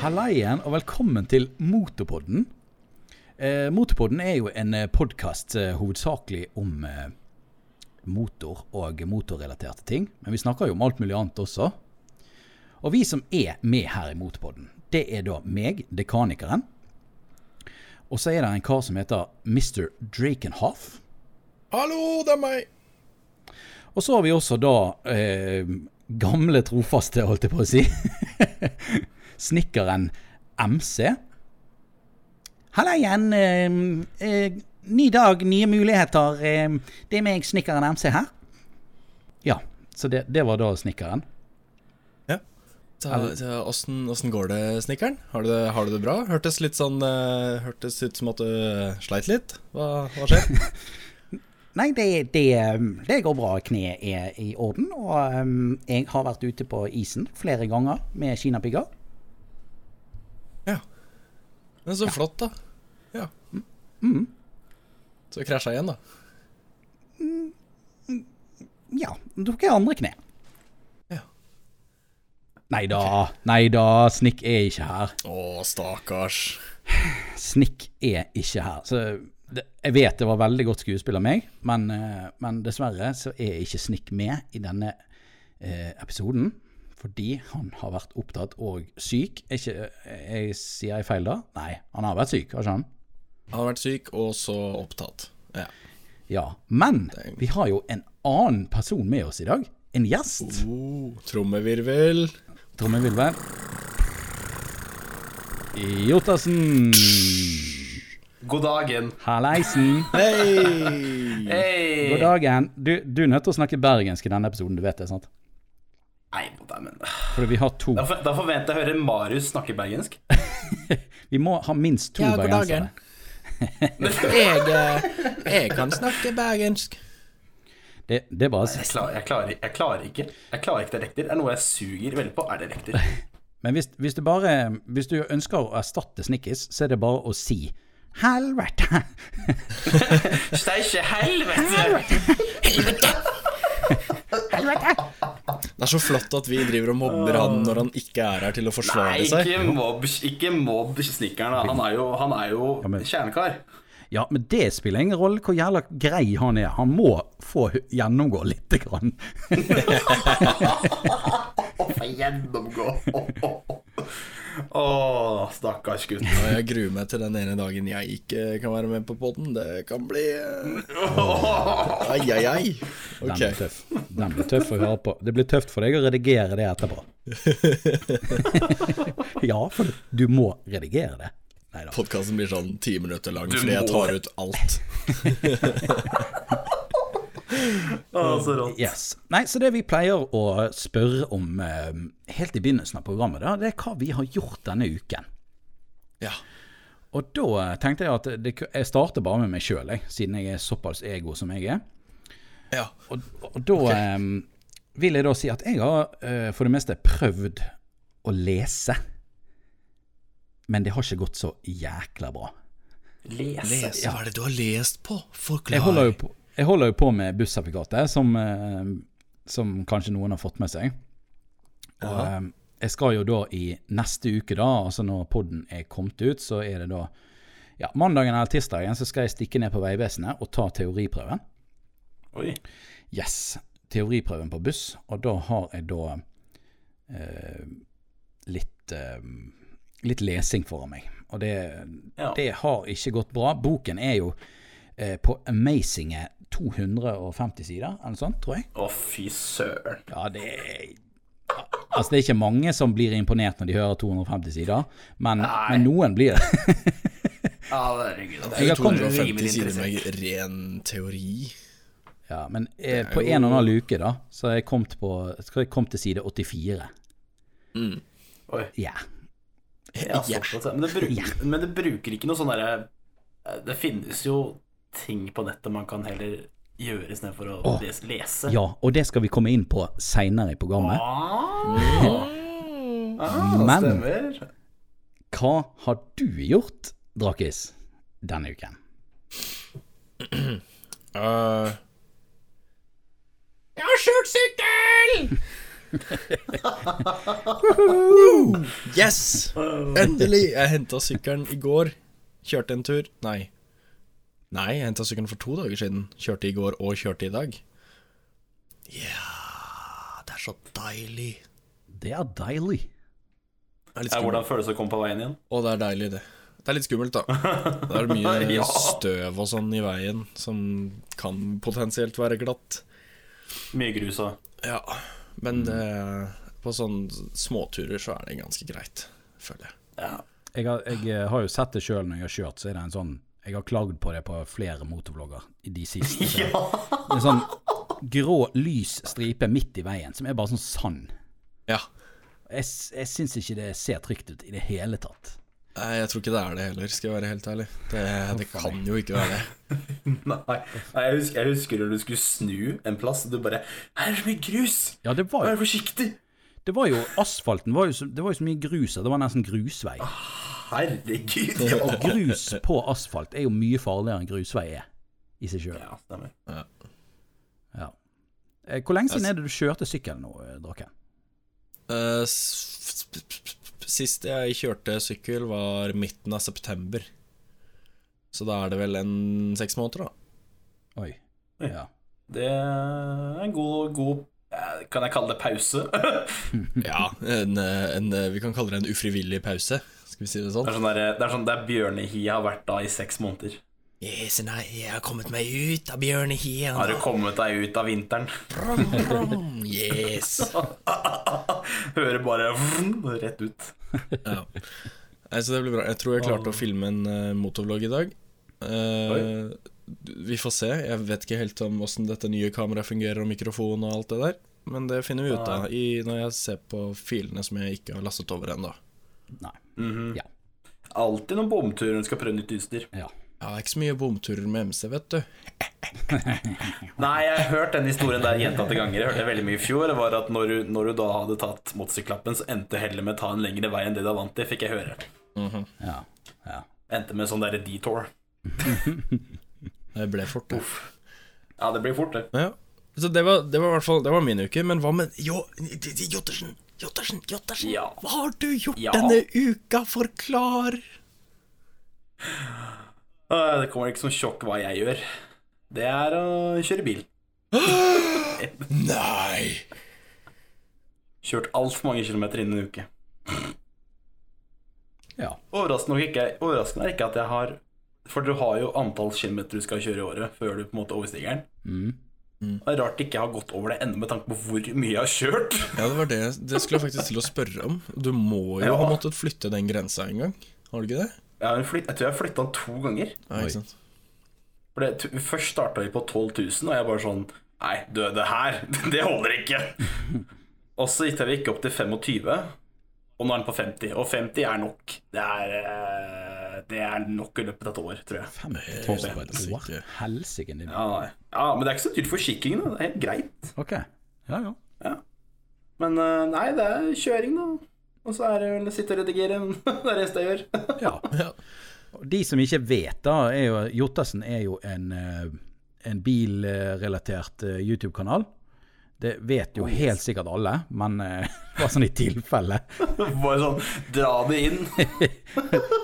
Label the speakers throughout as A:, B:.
A: Hallaien, og velkommen til Motorpodden. Eh, Motorpodden er jo en podkast eh, hovedsakelig om eh, motor og motorrelaterte ting. Men vi snakker jo om alt mulig annet også. Og vi som er med her i Motorpodden, det er da meg, dekanikeren. Og så er det en kar som heter Mr. Drakenhoff.
B: Hallo, det er meg!
A: Og så har vi også da eh, gamle trofaste, holdt jeg på å si. Snikkeren MC. Halla igjen. Eh, eh, ny dag, nye muligheter. Eh, det er meg, snikkeren MC, her. Ja, så det, det var da snikkeren.
B: Ja. Så, så, åssen, åssen går det, snekkeren? Har, du det- har du det bra? Hørtes litt sånn eh, Hørtes ut som at du eh, sleit litt. Hva, hva skjer?
A: Nei, det, det, det går bra. Kneet er i orden. Og ehm, jeg har vært ute på isen flere ganger med kinapigger.
B: ja. Men så flott, da. Ja. Så krasja igjen, da.
A: Ja, nå tok jeg andre kne.
B: Ja.
A: Nei da, nei da, Snikk er ikke her.
B: Å, stakkars.
A: Snikk er ikke her. Så det, jeg vet det var veldig godt skuespill av meg, men, eh, men dessverre så er ikke Snikk med i denne eh, episoden. Fordi han har vært opptatt og syk. Er ikke, eh, jeg, sier jeg feil da? Nei, han har vært syk, har ikke han?
B: Han har vært syk, og så opptatt. Ja.
A: Ja. Men vi har jo en annen person med oss i dag. En gjest.
B: Oh, trommevirvel.
A: Trommevirvel. Jotassen.
C: God dagen.
A: Halleisen.
B: Hei!
C: Hei!
A: God dagen. Du, du er nødt til å snakke bergensk i denne episoden, du vet det, sant?
C: Nei, dæven.
A: Fordi vi har to.
C: Da, for, da forventer jeg å høre Marius snakke bergensk.
A: Vi må ha minst to
B: Ja, god
A: bergensere.
B: dagen. Jeg, eh, jeg kan snakke bergensk.
A: Det, det er bare
C: Jeg, klar, jeg, klarer, jeg klarer ikke Jeg klarer ikke dialekter. Det er noe jeg suger veldig på, er dialekter.
A: Men hvis, hvis du bare Hvis du ønsker å erstatte Snickis, så er det bare å si Helvete!
C: Steikje helvete!
B: Det er så flott at vi driver og mobber han når han ikke er her til å
C: Nei,
B: forsvare seg.
C: ikke mobb, ikke mobb snikkeren. da. Han er jo, han er jo
A: men-
C: kjernekar.
A: Ja, men det spiller ingen rolle hvor jævla grei han er. Han må få gjennomgå lite grann.
C: Å, for gjennomgå! Å, stakkars gutt.
B: Og jeg gruer meg til den ene dagen jeg ikke kan være med på poden. Det kan bli eh, Ai, ai, ai.
A: Den
B: Ok.
A: blir tøff. Den blir tøff å høre på. Det blir tøft for deg å redigere det etterpå. ja, for du må redigere det. Nei da.
B: Podkasten blir sånn ti minutter lang
C: Du
B: fordi jeg
C: må.
B: tar ut alt.
C: Å, så rått.
A: Yes. Nei, så det vi pleier å spørre om eh, helt i begynnelsen av programmet, da, det er hva vi har gjort denne uken.
B: Ja.
A: Og da tenkte jeg at det, jeg starter bare med meg sjøl, siden jeg er såpass ego som jeg er.
B: ja.
A: Og, og da eh, vil jeg da si at jeg har eh, for det meste prøvd å lese. Men det har ikke gått så jækla bra.
C: Lese.
B: Les. Hva er det du har lest på?
A: Jeg holder
B: Forklar.
A: jo på, jeg holder jo på med bussertifikatet, som, eh, som kanskje noen har fått med seg. Og eh, jeg skal jo da i neste uke, da, altså når podden er kommet ut, så er det da ja, mandagen eller tirsdagen så skal jeg stikke ned på Vegvesenet og ta teoriprøven.
C: Oi.
A: Yes. Teoriprøven på buss. Og da har jeg da eh, litt, eh, litt lesing foran meg. Og det,
C: Ja.
A: det har ikke gått bra. Boken er jo eh, på amazinge 250 sider, eller noe sånt, tror jeg.
C: Å, fy søren.
A: Ja, det er Altså, det er ikke mange som blir imponert når de hører 250 sider, men, men noen blir det.
C: Ja, herregud.
A: Jeg har kommet-
B: 250 sider med ren teori.
A: Ja, men eh, på en og annen luke, da, så har jeg kommet på skal jeg kommet til side 84.
C: Oi.
A: Ja.
C: Ja, såpass, ja. Men, det bruker, men det bruker ikke noe sånn derre Det finnes jo ting på nettet man kan heller gjøre istedenfor å
A: Åh.
C: lese. lese.
A: Ja, og det skal vi komme inn på seinere i programmet.
C: Ah, ah,
A: Men-
C: stemmer.
A: Hva har du gjort, Drakis, denne uken?
B: Eh,
D: Jeg har kjørt sykkel!
B: Yes! Endelig! Jeg henta sykkelen i går. Kjørte en tur. Nei. Nei, jeg henta sykkelen for to dager siden. Kjørte i går og kjørte i dag. Ja Det er så deilig.
A: Det er deilig.
B: Det er litt
C: Ja,
B: skummelt.
C: hvordan føles det å komme på veien igjen?
B: Og det er deilig, det. Det er litt skummelt, da. Det er mye
C: Ja.
B: støv og sånn i veien som kan potensielt være glatt.
C: Mye grus og
B: Ja, men det, på sånne småturer så er det ganske greit, føler jeg.
C: ja.
A: Jeg har, jeg eh, har jo sett det sjøl når jeg har kjørt, så er det en sånn Jeg har klagd på det på flere motorvlogger i de siste. så
C: ja.
A: Det er en sånn grå, lys stripe midt i veien som er bare sånn sand.
B: Ja,
A: Jeg, s- jeg syns ikke det ser trygt ut i det hele tatt.
B: Nei, jeg tror ikke det er det heller, skal jeg være helt ærlig. Det, det kan jo ikke være det.
C: Nei, Nei jeg, husker, jeg husker når du skulle snu en plass, og du bare Her er det så mye grus!
A: Ja, det var,
C: Vær forsiktig!
A: det var jo asfalten var jo så, Det var jo så mye grus her. Det var nesten grusvei.
C: Herregud! Ja,
A: Og grus på asfalt er jo mye farligere enn grusvei er i seg sjøl.
C: ja stemmer.
A: Ja. Eh, Hvor lenge siden er det du kjørte sykkel nå, eh, Draken?
B: Eh, s- s- s- Sist jeg kjørte sykkel var midten av september. Så da er det vel en seks måneder, da.
A: Oi. Ja.
C: Det er en god, god eh, Kan jeg kalle det pause? det,
B: Ja, en, eh, en, eh, vi kan kalle det en ufrivillig pause, skal vi si det sånn.
C: er sånn der, det er sånn der bjørnehiet har vært da i seks måneder.
B: Yes, nei, jeg har kommet meg ut av bjørnehien.
C: Har du kommet deg ut av vinteren?
B: Yes.
C: Hører bare vrn, rett ut.
B: Ja. Nei, så det blir bra. Jeg tror jeg klarte å filme en eh, motorvlogg i dag. Eh, vi får se. Jeg vet ikke helt om åssen dette nye kameraet fungerer, og mikrofon og alt det der. Men det finner vi ut av i, når jeg ser på filene som jeg ikke har lastet over ennå.
A: Nei.
C: Alltid noen bomturer når du skal prøve nytt utstyr.
A: Ja.
B: Jeg har ikke så mye bomturer med MC, vet du.
C: Nei, jeg har hørt den historien der gjentatte ganger. Jeg hørte det veldig mye i fjor. Det var at når du, når du da hadde tatt motorsykkellappen, så endte hellet med å ta en lengre vei enn det du var vant til, fikk jeg høre. Mhm.
A: Ja. ja.
C: Endte med sånn derre detour.
B: Det ble fort, det.
C: Ja, det blir fort, det.
B: Ja. Så det var, det var i hvert fall Det var min uke. Men hva med Jo, Jottersen! Jottersen! Jottersen!
C: Ja.
B: Hva har du gjort
C: Ja.
B: denne uka? Forklar!
C: Øh, Det kommer ikke som sjokk hva jeg gjør. Det er å kjøre bil.
B: Nei!
C: Kjørt altfor mange kilometer innen en uke.
A: ja.
C: Overraskende, nok ikke, overraskende er ikke at jeg har For du har jo antall kilometer du skal kjøre i året før du på en måte overstiger den.
A: Mm.
C: Det er rart ikke jeg har gått over det ennå, med tanke på hvor mye jeg har kjørt.
B: Ja, det var det Det skulle jeg faktisk til å spørre om. Du må jo
C: Ja.
B: ha måttet flytte den grensa en gang, har du ikke det?
C: Jeg, har flytt, jeg tror jeg har flytta den to ganger.
B: Ja,
A: Oi.
B: ikke sant?
C: For det, t- Først starta vi på 12 000, og jeg bare sånn Nei, du, det her, det holder ikke. Og så gikk jeg gikk opp til 25, og nå er den på 50. Og 50 er nok. Det er, eh, det er nok i løpet av et år, tror jeg.
A: 50 000 på et
B: Helvete.
A: år? Helsike. det-
C: Ja, nei. ja, men det er ikke så dyrt for forsikringen. da. Det er helt greit.
A: Ok. Ja, ja.
C: Men eh, nei, det er kjøring, da. Og så er det vel å sitte og redigere. Det er det eneste jeg gjør.
A: ja.
B: Ja.
A: Og De som ikke vet, da, er jo Jottasen er jo en, eh, en bilrelatert eh, YouTube-kanal. Det vet jo helt sikkert alle, men eh, bare sånn i tilfelle.
C: Bare sånn dra det inn.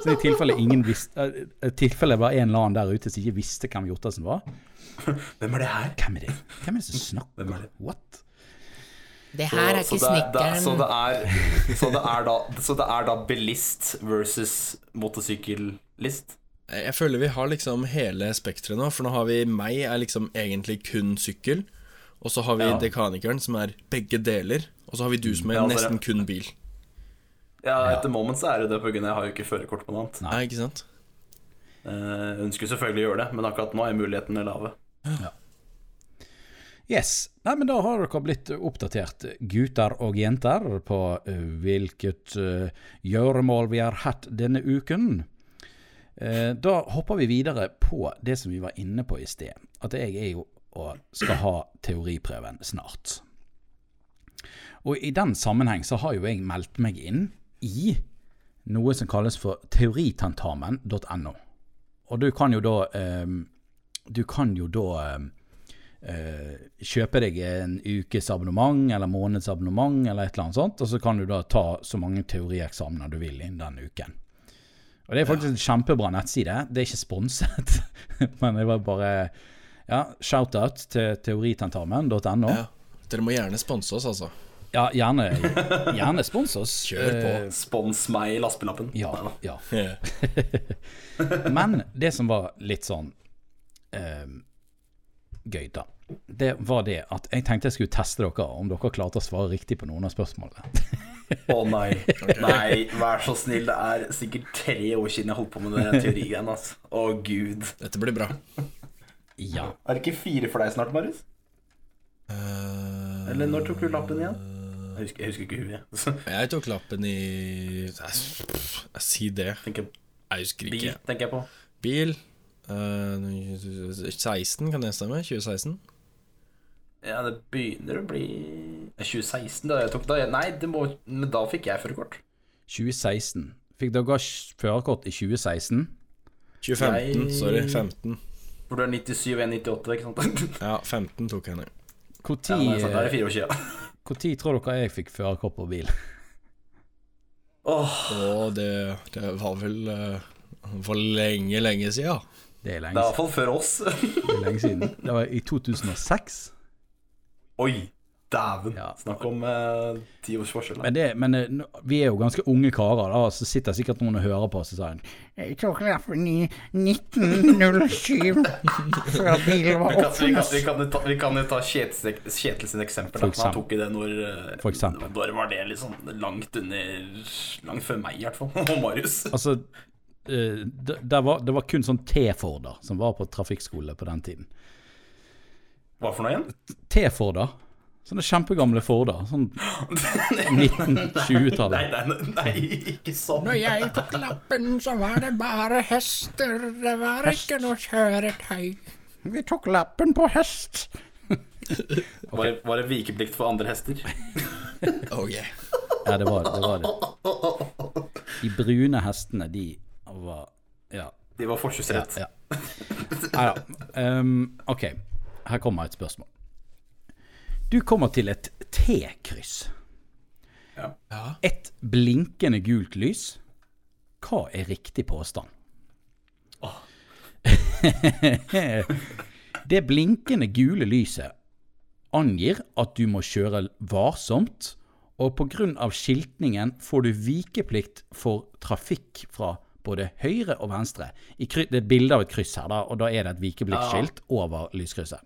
A: Så i tilfelle ingen visste eh, I tilfelle det var en eller annen der ute som ikke visste hvem Jottasen var.
C: Hvem er det her?
A: Hvem er det? Hvem er det som
C: Hvem
A: snakker?
C: er det?
A: What?
D: Det her er ikke snekkeren.
C: så, det er, så, det er da, så det er da bilist versus motorsykkellist?
B: Jeg føler vi har liksom hele spekteret nå, for nå har vi meg er liksom egentlig kun sykkel, og så har vi
C: Ja.
B: dekanikeren som er begge deler, og så har vi du som er
C: Ja, altså,
B: nesten
C: det-
B: kun bil.
C: Ja, etter moment så er det det, på grunn av jeg har jo ikke førerkort på noe annet.
B: Ja, ikke sant?
C: Eh, ønsker selvfølgelig å gjøre det, men akkurat nå er mulighetene lave.
A: Yes. Nei, men da har dere blitt oppdatert, eh, gutter og jenter, på eh, hvilket eh, gjøremål vi har hatt denne uken. Eh, da hopper vi videre på det som vi var inne på i sted. At jeg er jo og skal ha teoriprøven snart. Og i den sammenheng så har jo jeg meldt meg inn i noe som kalles for ehm, teoritentamen.no. Og du kan jo da eh, Du kan jo da eh, eh, kjøpe deg en ukes abonnement eller måneds abonnement eller et eller annet sånt, og så kan du da ta så mange teorieksamener du vil innen den uken. Og det er faktisk en kjempebra nettside. Det er ikke sponset, men det var bare ja, shout-out til teoritentamen.no.
B: Ja. Dere må gjerne sponse oss, altså.
A: Ja, gjerne, gjerne spons oss.
B: Kjør på.
A: Eh,
C: Spons meg i lastebillappen.
A: Ja,
C: Neida.
A: ja.
B: Ja.
A: Men det som var litt sånn eh, gøy, da, det var det at jeg tenkte jeg skulle teste dere om dere klarte å svare riktig på noen av spørsmålene.
C: Å nei. Nei, vær så snill. Det er sikkert tre år siden jeg holdt på med den teorigreiene. Altså. Å gud.
B: Dette blir bra.
A: Ja.
C: Er det ikke fire for deg snart, Marius?
B: Eh,
C: Eller når tok du lappen igjen? Eh, Jeg husker, jeg husker ikke huet. jeg.
B: jeg tok lappen i Nei, Jeg sier det.
C: Tenker
B: Jeg husker
C: bil,
B: ikke.
C: tenker jeg på.
B: Bil. eh, 16, kan det stemme? 2016?
C: Ja, det begynner å bli 2016 da jeg tok da. Nei, det må, men da fikk jeg førerkort.
A: 2016. Fikk dere sj- førerkort i 2016?
B: 2015,
C: Jeg-
B: Mm, sorry. 15.
C: For du er 97 og jeg er 98, ikke sant?
B: Ja, 15 tok jeg ned.
A: Hvor
C: Ja,
A: tid,
C: nei, sant, da er det fire år siden.
A: hvor tid tror dere jeg fikk førerkort på bil?
C: Åh,
B: Og det, det var vel eh, for lenge, lenge siden.
A: Det er
C: det er i
A: lenge,
C: hvert fall før oss.
A: det er lenge siden. Det var i 2006.
C: Oi, dæven.
A: Ja.
C: Snakk om eh, ti års forskjell. da.
A: Men, det, men eh, nå- vi er jo ganske unge karer, da, så sitter sikkert noen og hører på oss og sier
E: Jeg tok lappen i 1907 før bilen var
C: Vi kan, vi, kan,
E: oppfunnet.
C: vi, kan, jo ta- vi kan jo ta Kjetil Kjetil sin eksempel.
A: For
C: Da. Han
A: eksempel.
C: tok jo det når eh,
A: For eksempel.
C: Når var det liksom langt under Langt før meg, i hvert fall. Og Marius.
A: Altså, eh, det, det, var, det var kun sånn T-Forder som var på trafikkskole på den tiden.
C: Hva for noe igjen?
A: T-Forder. Sånne kjempegamle Forder. Sånn 1920-tallet.
C: Nei, nei, nei, ikke sånn.
D: Når jeg tok lappen, så var det bare hester. Det var ikke noe kjøretøy.
E: Vi tok lappen på hest.
C: Var, det- var det vikeplikt for andre hester?
B: Oh, yeah.
A: Ja, det var det. det, var det. De brune hestene, de var Ja.
C: De var forkjørsrett.
A: ja. Nei da. Um, OK, her kommer et spørsmål. Du kommer til et T-kryss.
C: Ja.
A: Et blinkende gult lys. Hva er riktig påstand? det blinkende gule lyset angir at du må kjøre varsomt, og pga. skiltningen får du vikeplikt for trafikk fra både høyre og venstre. I kry det er et bilde av et kryss her, da, og da er det et vikepliktskilt over lyskrysset.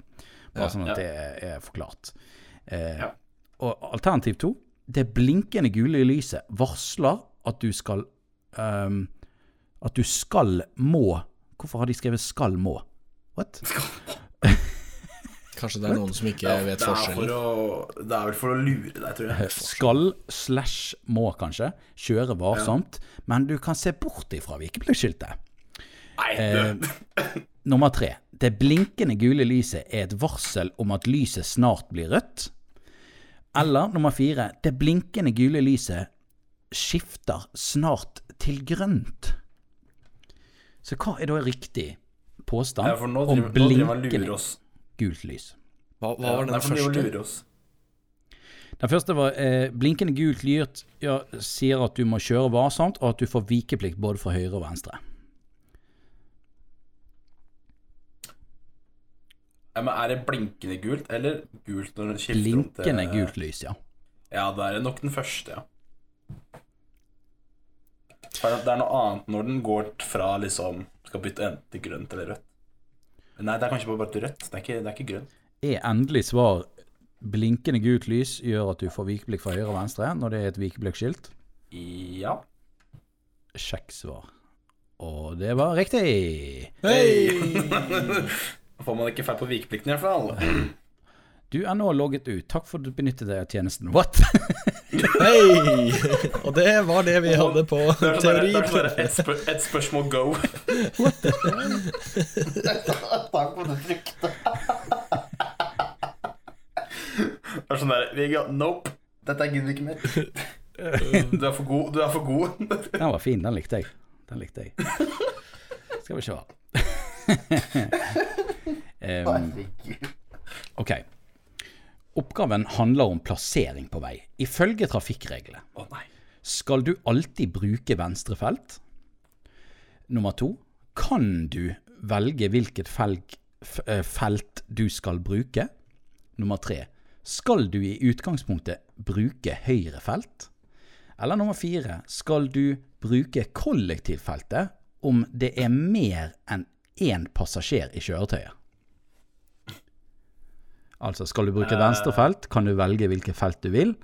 A: Bare sånn at det er forklart. Eh,
C: Ja.
A: Og alternativ to, det blinkende gule lyset varsler at du skal ehm, At du skal må Hvorfor har de skrevet 'skal må'? What?
B: Kanskje det er noen som ikke vet
C: Det er, for
B: forskjellen.
C: å, det er vel for å lure deg, tror jeg.
A: Skal slash må, kanskje. Kjøre varsomt. Men du kan se bort ifra vikepliktskiltet.
C: Nei, du.
A: Nummer tre. Det blinkende gule lyset er et varsel om at lyset snart blir rødt. Eller nummer fire. Det blinkende gule lyset skifter snart til grønt. Så hva er da riktig påstand
C: Ja, for nå
A: om
C: driver, nå driver han og lurer
A: blinkende
C: oss.
A: gult lys?
B: Hva, hva
C: Ja,
B: var den
C: derfor driver han og
B: første?
C: lurer oss.
A: Den første var eh, blinkende gult lyrt ja, sier at du må kjøre varsomt, og at du får vikeplikt både for høyre og venstre.
C: Ja, men er det blinkende gult, eller gult når det skifter om til-
A: Blinkende gult lys, ja.
C: Ja, det er nok den første, ja. For det er noe annet når den går fra liksom Skal bytte enten til grønt eller rødt. Nei, det er kanskje bare til rødt. Det er ikke, det er ikke grønt.
A: Er endelig svar blinkende gult lys gjør at du får vikeplikt fra høyre og venstre når det er et vikepliktskilt?
C: Ja.
A: Sjekk svar. Og det var riktig!
C: Da får man ikke feil på vikeplikten i hvert fall.
A: Du er nå logget ut. Takk for at du benyttet deg av tjenesten. What?
B: Hei! Og det var det vi hadde på
C: Det er sånn bare, det er sånn
B: teori.
C: bare et, spør et spørsmål go.
E: Takk for det trykket.
C: Det er sånn der vi går, Nope. Dette gidder vi ikke mer. Du er for god. Du er for god.
A: Den var fin. Den likte jeg. Den likte jeg. Skal vi se. Em, Ok. Oppgaven handler om plassering på vei. Ifølge trafikkreglene
C: Å nei.
A: skal du alltid bruke venstre felt. Nummer to, kan du velge hvilket felg, f- eh, felt du skal bruke? Nummer tre, skal du i utgangspunktet bruke høyre felt? Eller nummer fire, skal du bruke kollektivfeltet om det er mer enn én passasjer i kjøretøyet? Altså, skal du bruke venstre felt, kan du velge hvilket felt du vil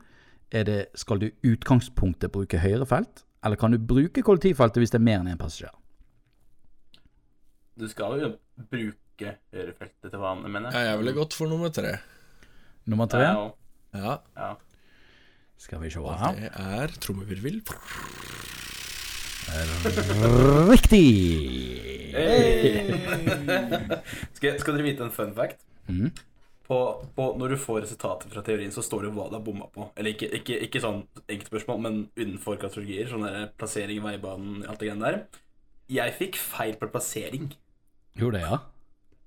A: er det, skal du i utgangspunktet bruke høyre felt, eller kan du bruke kollektivfeltet hvis det er mer enn én passasjer?
C: Du skal jo bruke høyrefeltet til vanlig, mener
B: Ja, jeg ville gått for nummer tre.
A: Nummer tre.
C: Ja, og-
B: Ja,
C: ja.
A: Skal vi se her.
B: det er trommevirvel.
A: Riktig!
C: Skal, skal dere vite en fun fact? På, på når du får resultater fra teorien, så står det hva du har bomma på. Eller ikke, ikke, ikke sånn enkeltspørsmål, men innenfor kategorier. Sånn der plassering i veibanen alt det greiene der. Jeg fikk feil på plassering.
A: Jo, det, ja.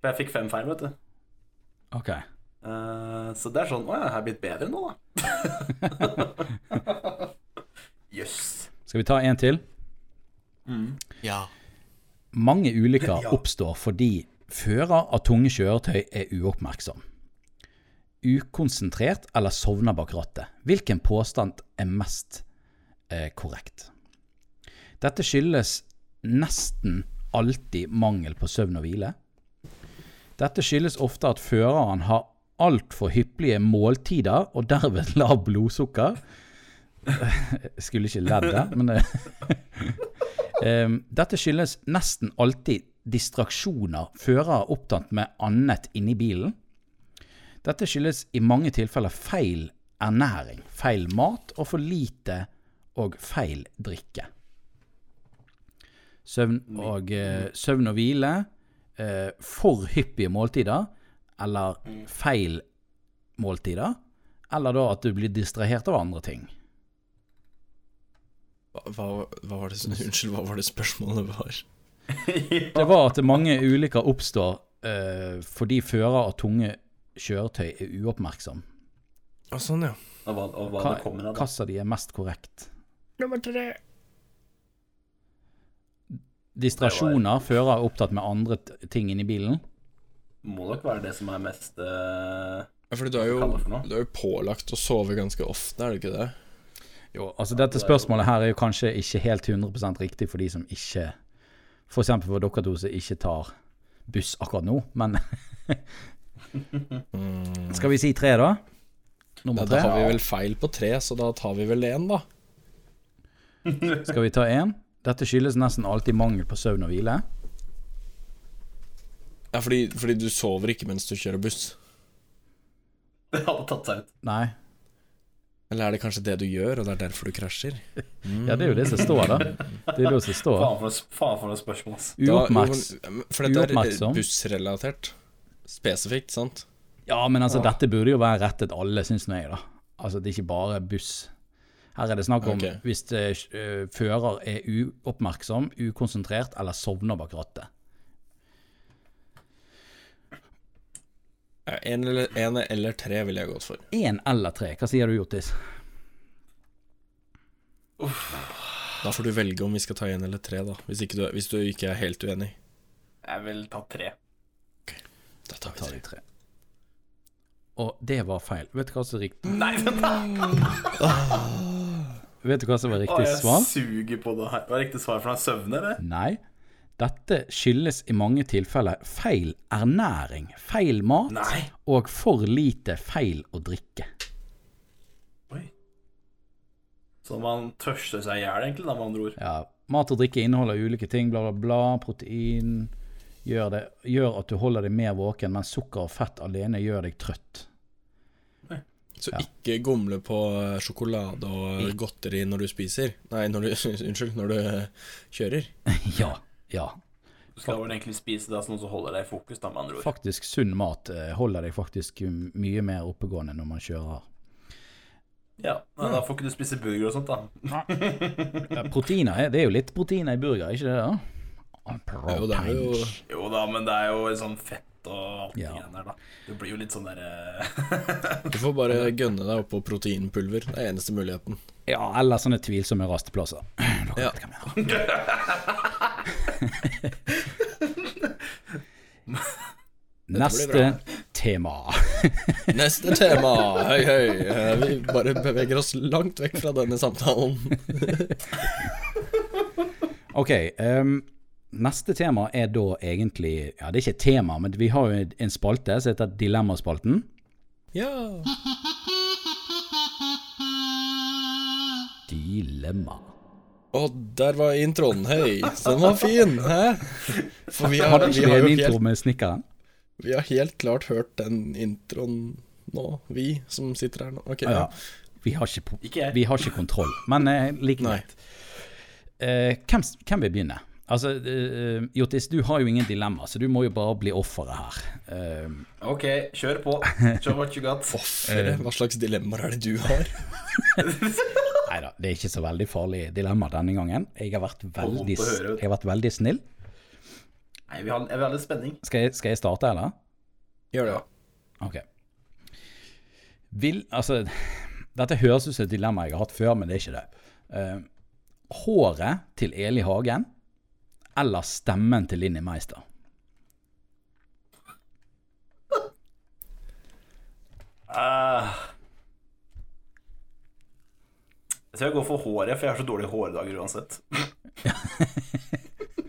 C: For jeg fikk fem feil, vet du.
A: Ok.
C: Eh, så det er sånn Å ja, jeg har blitt bedre nå, da. Jøss.
A: Skal vi ta en til?
B: Ja.
A: Mange ulykker
C: Ja.
A: oppstår fordi fører av tunge kjøretøy er uoppmerksom, ukonsentrert eller sovner bak rattet. Hvilken påstand er mest eh, korrekt? Dette skyldes nesten alltid mangel på søvn og hvile. Dette skyldes ofte at føreren har altfor hyppige måltider og derved lav blodsukker. Skulle ikke ledd det, men det Ehm, dette skyldes nesten alltid distraksjoner fører er opptatt med annet inni bilen. Dette skyldes i mange tilfeller feil ernæring, feil mat og for lite og feil drikke. Søvn og, eh, søvn og hvile, eh, for hyppige måltider eller feil måltider, eller da at du blir distrahert av andre ting.
B: Hva, hva, hva var det som- Unnskyld, hva var det spørsmålet var?
A: Det var at mange ulykker oppstår eh, fordi fører av tunge kjøretøy er uoppmerksom.
B: Å, sånn, ja.
C: Og hva, og hva
A: Hva,
C: det kommer av, da.
A: hva av de er mest korrekt?
D: Nummer tre.
A: Distrasjoner, fører er opptatt med andre t- ting inni bilen.
C: Må nok være det som er mest eh,
B: Ja, Fordi du er
C: Hva kaller det for
B: jo,
C: noe?
B: du er jo pålagt å sove ganske ofte, er du ikke det?
A: Jo, altså Dette spørsmålet her er jo kanskje ikke helt 100 riktig for de som ikke F.eks. for dere to som ikke tar buss akkurat nå, men Skal vi si tre, da?
B: Ja,
A: Nummer
B: da har vi
A: tre.
B: vel feil på tre, så da tar vi vel én, da.
A: Skal vi ta én? Dette skyldes nesten alltid mangel på søvn og hvile.
B: Ja, fordi, fordi du sover ikke mens du kjører buss.
C: Det hadde tatt seg ut.
A: Nei,
B: Eller er det kanskje det du gjør, og det er derfor du krasjer?
A: Ja, det er jo det som står, da. Det er det som står.
C: Faen for noe, faen for noe spørsmål, ass.
A: Uoppmerks.
B: Da- For dette
A: Uoppmerksom.
B: er bussrelatert. Spesifikt, sant?
A: Ja, men altså, dette burde jo være rettet alle, syns nå jeg, da. Altså, det er ikke bare buss. Her er det snakk om
B: Ok.
A: hvis eh, sj- eh, fører er uoppmerksom, ukonsentrert eller sovner bak rattet.
B: Ja, En eller, en eller tre ville jeg gått for.
A: Én eller tre. Hva sier du, Jotis?
B: Da får du velge om vi skal ta en eller tre, da. Hvis, ikke du, hvis du ikke er helt uenig.
C: Jeg vil ta tre.
B: Da tar
A: Tar
B: vi
A: de
B: tre.
A: tre. Og det var feil. Vet du hva som er riktig?
C: Nei, men da!
A: Vet du hva som var
C: Å,
A: riktig
C: jeg
A: svar?
C: suger på det her. Hva er riktig svar for noe? Søvne, eller?
A: Nei. Dette skyldes i mange tilfeller feil ernæring, feil mat
C: Nei.
A: og for lite feil å drikke.
C: Oi. Så man tørster seg i hjel, egentlig, da, med andre ord.
A: Ja, mat og drikke inneholder ulike ting, bla, bla, bla. Protein gjør, det, gjør at du holder deg mer våken, men sukker og fett alene gjør deg trøtt.
B: Så ikke gomle på eh, sjokolade og godteri når du spiser. Nei, når du, unnskyld, når du eh, kjører.
A: Ja, ja.
C: Du skal vel egentlig spise det som noe som holder deg i fokus, da, med andre ord.
A: Faktisk sunn mat eh, holder deg faktisk m- mye mer oppegående når man kjører.
C: Ja, Nei, Da får ikke du spise burger og sånt, da.
A: Ja, proteiner, er- det er jo litt proteiner i burger, ikke det? da?
B: Jo, det er jo
A: Proteins.
C: Jo da, men det er jo sånn fett fett og alt det
A: Ja.
C: greiene der, da. Det blir jo litt sånn eh, derre
B: Du får bare gønne deg opp på proteinpulver. Det er eneste muligheten.
A: Ja, eller sånne tvilsomme rasteplasser. Dere
B: Ja.
A: vet hva jeg mener. Neste
B: bra.
A: tema.
B: Neste tema! Høy, høy. Eh, Vi bare beveger oss langt vekk fra denne samtalen.
A: Ok, ehm, neste tema er da egentlig Ja, det er ikke et tema, men vi har jo en spalte som heter Dilemmaspalten.
B: Ja.
A: Dilemma.
B: Og der var introen. Høy. Så Den var fin, hæ? For vi har,
A: Hadde
B: vi
A: ikke vi
B: har
A: en
B: jo
A: intro
B: helt,
A: med snekkeren?
B: vi har helt klart hørt den introen nå, vi som sitter her nå. Ok,
A: Ja.
B: ja.
A: Vi har ikke, po-
C: Ikke jeg.
A: vi har ikke kontroll, men eh, like
B: Nei.
A: greit. Eh, hvem, s- hvem vil begynne? Altså, eh, Jotis, du har jo ingen dilemma, så du må jo bare bli offeret her. Eh,
C: Ok, kjør på. Show what you got.
B: Offeret,
A: Eh.
B: hva slags dilemmaer er det du har?
A: Nei da, det er ikke så veldig farlig dilemma denne gangen. Jeg har vært veldig,
C: Håper å
A: s-
C: høre.
A: jeg har vært veldig snill.
C: Nei, vi har, jeg vil ha litt spenning.
A: Skal jeg, skal jeg starte, eller?
B: Gjør det.
A: Ok. Vil Altså, dette høres ut som et dilemma jeg har hatt før, men det er ikke det. Eh, håret til Eli Hagen eller stemmen til Linni Meister?
C: Eh, jeg tror jeg går for håret, for jeg har så dårlige hårdager uansett.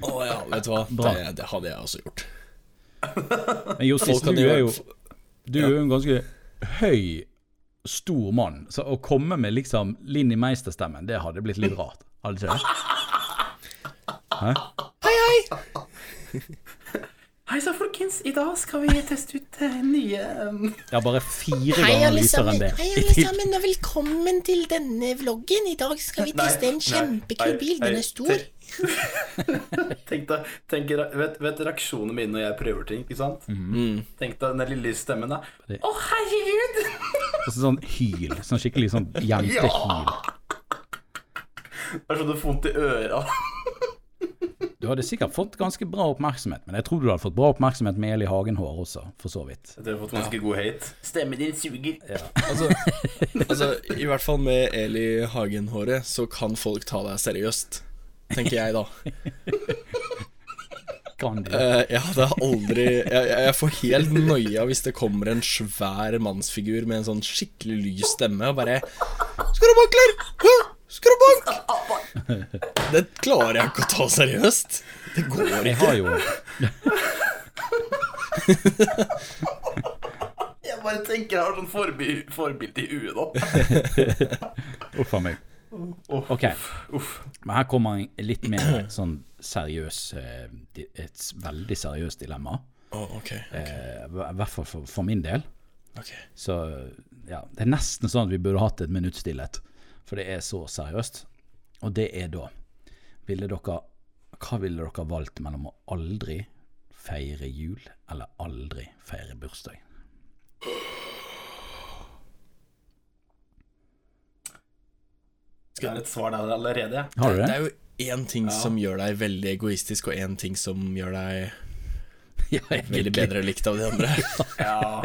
B: Å ja, vet du hva.
A: Bra.
B: Det, det hadde jeg også gjort.
A: Men Jostis,
B: Folk kan
A: du er
B: gjøre-
A: jo Du er jo en ganske høy, stor mann, så å komme med liksom Linni Meister-stemmen, det hadde blitt litt rart. Hadde ikke det?
C: Hei sann, folkens. I dag skal vi teste ut eh, nye eh,
A: Det er bare fire
F: Hei,
A: ganger
F: alle
A: lysere
F: sammen.
A: enn det.
F: Hei,
A: I
F: alle
A: til-
F: sammen, og velkommen til denne vloggen. I dag skal vi
C: Nei,
F: teste en
C: nei,
F: kjempekul
C: nei,
F: bil.
C: nei,
F: Den er stor.
C: Tenk deg, tenk, deg- vet, vet reaksjonene mine når jeg prøver ting, ikke sant?
F: Mm.
C: Tenk deg den lille stemmen der. Å, herregud!
A: Og så sånn hyl. Sånn skikkelig sånn jentehyl.
C: Det er sånn det får vondt i øra.
A: Du hadde sikkert fått ganske bra oppmerksomhet, men jeg tror du hadde fått bra oppmerksomhet med Eli Hagenhår også, for så vidt.
C: Jeg tror jeg har fått ganske god hate. Stemmen din suger.
B: Altså, altså, i hvert fall med Eli Hagen-håret, så kan folk ta deg seriøst. Tenker jeg, da.
A: Kan du?
B: Eh, Jeg hadde aldri jeg, jeg jeg får helt noia hvis det kommer en svær mannsfigur med en sånn skikkelig lys stemme og bare Skrabankler! Hæ? Skrabank! Det klarer jeg ikke å ta seriøst. Det går
A: Jeg
B: ikke.
A: har jo
C: Jeg bare tenker jeg har sånn forbi- forbilde i huet nå.
A: Uff a meg. Ok. Men her kommer en litt mer sånn seriøs eh, di- Et s- veldig seriøst dilemma.
B: Å, ok,
A: Eh, I hvert fall for, for min del.
B: ok.
A: Så ja, det er nesten sånn at vi burde hatt et minutt stillhet. For det er så seriøst. Og det er da ville dere, Hva ville dere valgt mellom å aldri feire jul eller aldri feire bursdag?
C: Jeg har et svar der allerede, jeg.
A: Har du
B: Det
A: det?
B: er jo én ting som gjør deg veldig egoistisk, og én ting som gjør deg
A: Ja, egentlig.
B: veldig bedre likt av de andre.
C: Ja.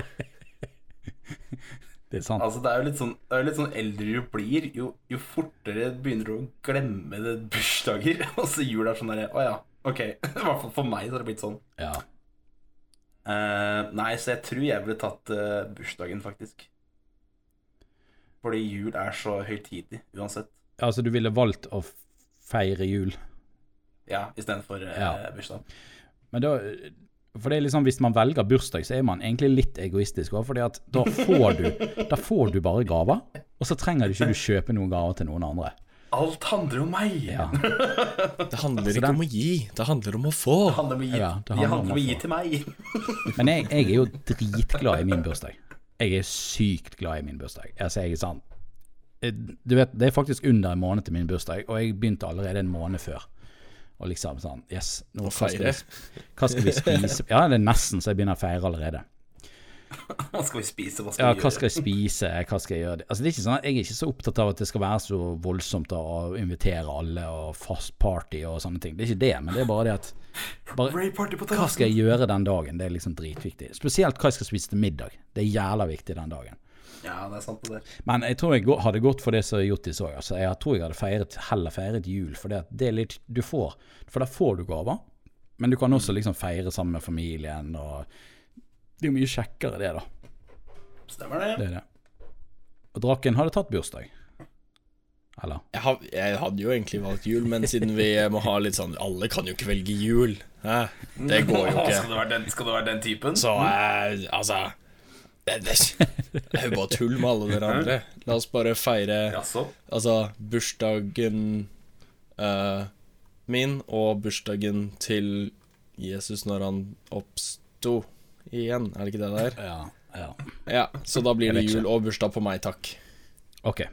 A: Det er sant.
C: Altså, det er jo litt sånn, det er jo litt sånn eldre du blir, jo, jo fortere begynner du å glemme det bursdager. Og så jul er sånn derre Å ja, ok. I hvert fall for meg så har det blitt sånn.
A: Ja.
C: Eh, nei, så jeg tror jeg ville tatt eh, bursdagen, faktisk. Fordi jul er så høytidig uansett.
A: Altså, du ville valgt å f- feire jul.
C: Ja, istedenfor uh,
A: Ja.
C: bursdag.
A: Men da For det er liksom, hvis man velger bursdag, så er man egentlig litt egoistisk òg. For da, får du- da får du bare gaver, og så trenger du ikke du kjøpe noen gaver til noen andre.
C: Alt handler om meg!
A: Ja.
B: Altså, Det handler ikke om å gi, det handler om å få.
C: Det handler om å gi,
A: Ja, det
C: det
A: handler
C: handler
A: om
C: om å
A: å
C: gi
A: få.
C: til meg.
A: Men jeg, jeg er jo dritglad i min bursdag. Jeg er sykt glad i min bursdag. Altså, jeg er sånn eh, Du vet, det er faktisk under en måned til min bursdag, og jeg begynte allerede en måned før. Og liksom sånn Yes, nå
B: Å
A: hva skal, vi,
B: feire.
A: hva skal vi spise? Ja, det er nesten så jeg begynner å feire allerede.
C: Hva skal vi spise? Hva skal
A: Ja,
C: vi
A: hva
C: gjøre?
A: skal jeg spise, hva skal jeg gjøre? Altså, det er ikke sånn at jeg er ikke så opptatt av at det skal være så voldsomt å invitere alle og fast party og sånne ting. Det er ikke det, men det er bare det at bare,
C: Ray party på
A: Hva skal
C: terrassen!
A: jeg gjøre den dagen? Det er liksom dritviktig. Spesielt hva jeg skal spise til middag. Det er jævla viktig den dagen.
C: Ja, det er sant, det der.
A: Men jeg tror jeg gå- hadde gått for det som Jottis òg. Altså, jeg tror jeg hadde feiret, heller feiret jul, for det, at det er litt Du får For der får du gaver, men du kan også liksom feire sammen med familien og Det er jo mye kjekkere, det, da.
C: Stemmer det.
A: Det er det. Og draken hadde tatt bursdag. Eller?
B: Jeg, har, jeg hadde jo egentlig valgt jul, men siden vi må ha litt sånn Alle kan jo ikke velge jul. Hæ? Det går jo
C: Skal,
B: ikke.
C: det være den, skal det være den typen?
B: Så eh, altså det, det, det er jo bare tull med alle dere andre. La oss bare feire
C: Jaså?
B: altså bursdagen eh, min og bursdagen til Jesus når han oppsto igjen. Er det ikke det der?
A: Ja. ja.
B: Ja, så da blir det
A: vet ikke.
B: jul og bursdag på meg, takk.
A: Ok.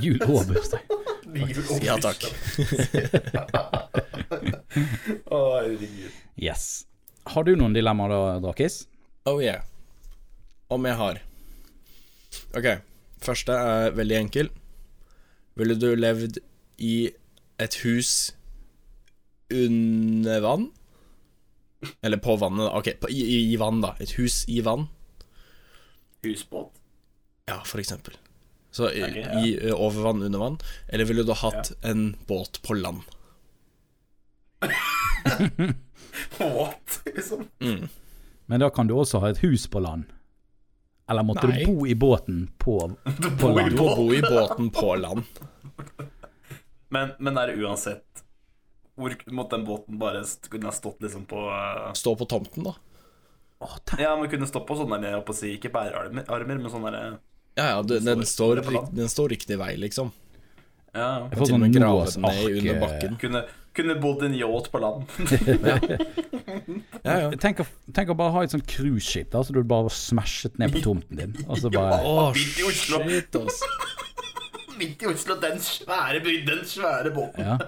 A: Jul og bursdag.
B: Ja takk.
C: Å, herregud.
A: Yes. Har du noen dilemmaer da, Drakis?
B: Oh yeah. Om jeg har. Ok, første er veldig enkel. Ville du levd i et hus under vann? Eller på vannet, da. Ok, på, i, i, i vann, da. Et hus i vann.
C: Husbåt?
B: Ja, for eksempel. Så i,
C: Ok, ja.
B: i, over vann, under vann. Eller ville du hatt en båt på land?
C: What? Liksom.
A: Men da kan du også ha et hus på land. Eller måtte
B: Nei.
A: du bo i båten på, på
C: bor i
A: land?
B: Du må bo i båten på land.
C: Men, men er det uansett hvor Måtte den båten bare st- kunne ha stått liksom på eh,
B: Stå på tomten, da.
A: Å, tenk-
C: Ja, men kunne stå på sånne der, jeg holdt på å si, ikke bærearmer, armer, men sånne der eh,
B: Ja, ja, du, den,
C: Står-
B: står, rik- den står riktig vei, liksom.
C: Ja.
A: Jeg får
B: Til og
A: sånn
B: med grave
A: Noahs
B: den ned under
A: ark.
B: bakken.
C: Kunne, kunne bodd i en yacht på land.
B: Ja, ja.
A: Tenk å, tenk å bare ha et sånt cruiseskip da, så du bare smashet ned på tomten din. Og så bare
B: Åh,
C: Midt i Oslo.
B: shit, ass.
C: Midt i Oslo, den svære byen, den svære båten.
A: Ja.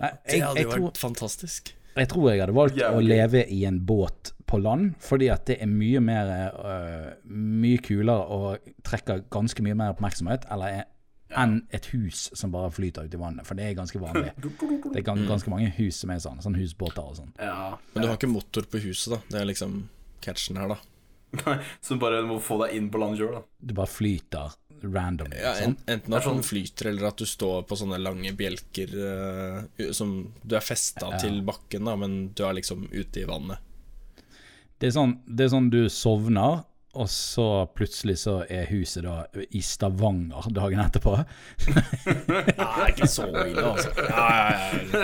A: Nei,
B: Det
A: jeg,
B: hadde
A: jeg,
B: jo
A: tror,
B: vært fantastisk.
A: jeg tror jeg hadde valgt å
C: Jævlig gøy.
A: leve i en båt på land, fordi at det er mye mer øh, Mye kulere og trekker ganske mye mer oppmerksomhet eller er, enn et hus som bare flyter ut i vannet, for det er ganske vanlig. Det er gan
B: Mm.
A: ganske mange hus som er sånn, sånn husbåter og sånn.
C: Ja.
B: Men du har ikke motor på huset, da. Det er liksom catchen her, da.
C: Som bare må få deg inn på land sjøl, da.
A: Du bare flyter random.
B: Ja,
A: sånn.
B: en, enten at
C: Det er sånn-
B: den flyter, eller at du står på sånne lange bjelker eh, som Du er festa til bakken, da, men du er liksom ute i vannet.
A: Det er, sånn, det er sånn du sovner, og så plutselig så er huset da i Stavanger dagen etterpå.
B: Nei, ikke så ille, altså. Ja, ja, ja.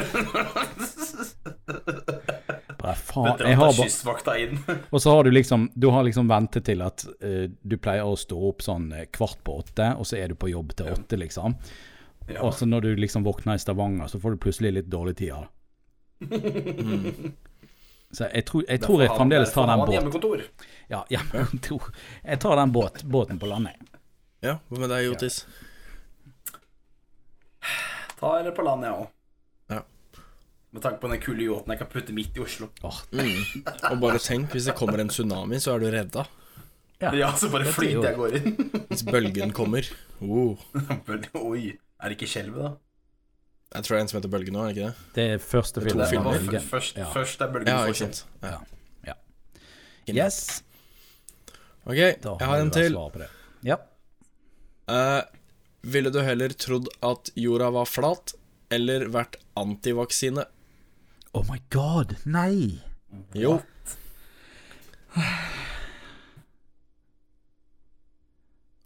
A: Bare, faen, jeg har
C: Bedre at det
A: bare
C: er kystvakta inn.
A: Og så har du liksom Du har liksom ventet til at eh, du pleier å stå opp sånn eh, kvart på åtte, og så er du på jobb til åtte, liksom. Og så når du liksom våkner i Stavanger, så får du plutselig litt dårlig tid av det. Så jeg tror jeg, tror jeg
C: Derfor har-
A: fremdeles tar
C: derfor har
A: den
C: man
A: båten.
C: Hjemmekontor.
A: Ja, ja, jeg tror- jeg tar den båt, båten på landet.
B: ja, hva med deg, Jotis?
C: Ta det på land, jeg òg.
B: Ja.
C: Med tanke på den kule yachten jeg kan putte midt i Oslo.
A: Åh,
B: Mm. Og bare tenk, hvis det kommer en tsunami, så er du redda.
C: Ja, så bare
A: er jo-
C: flyter jeg går inn.
B: Hvis bølgen kommer. Oh.
C: Men, Oi. Er det ikke skjelvet, da?
B: Jeg tror det er en som heter Bølge nå, er det ikke det?
A: det er første
B: er to
A: filmen.
C: Det
B: filmer.
A: av
C: var
A: Bølgen.
C: f- først,
A: Ja.
C: først er bølgen
B: Ja,
C: så
B: ikke sant. Ja.
A: Yes,
B: Ok,
A: da
B: jeg har
A: du
B: en
A: da
B: til.
A: svar på det. Ja.
B: Eh, ville du heller trodd at jorda var flat, eller vært antivaksine?
A: Oh my god, nei!
B: Jo,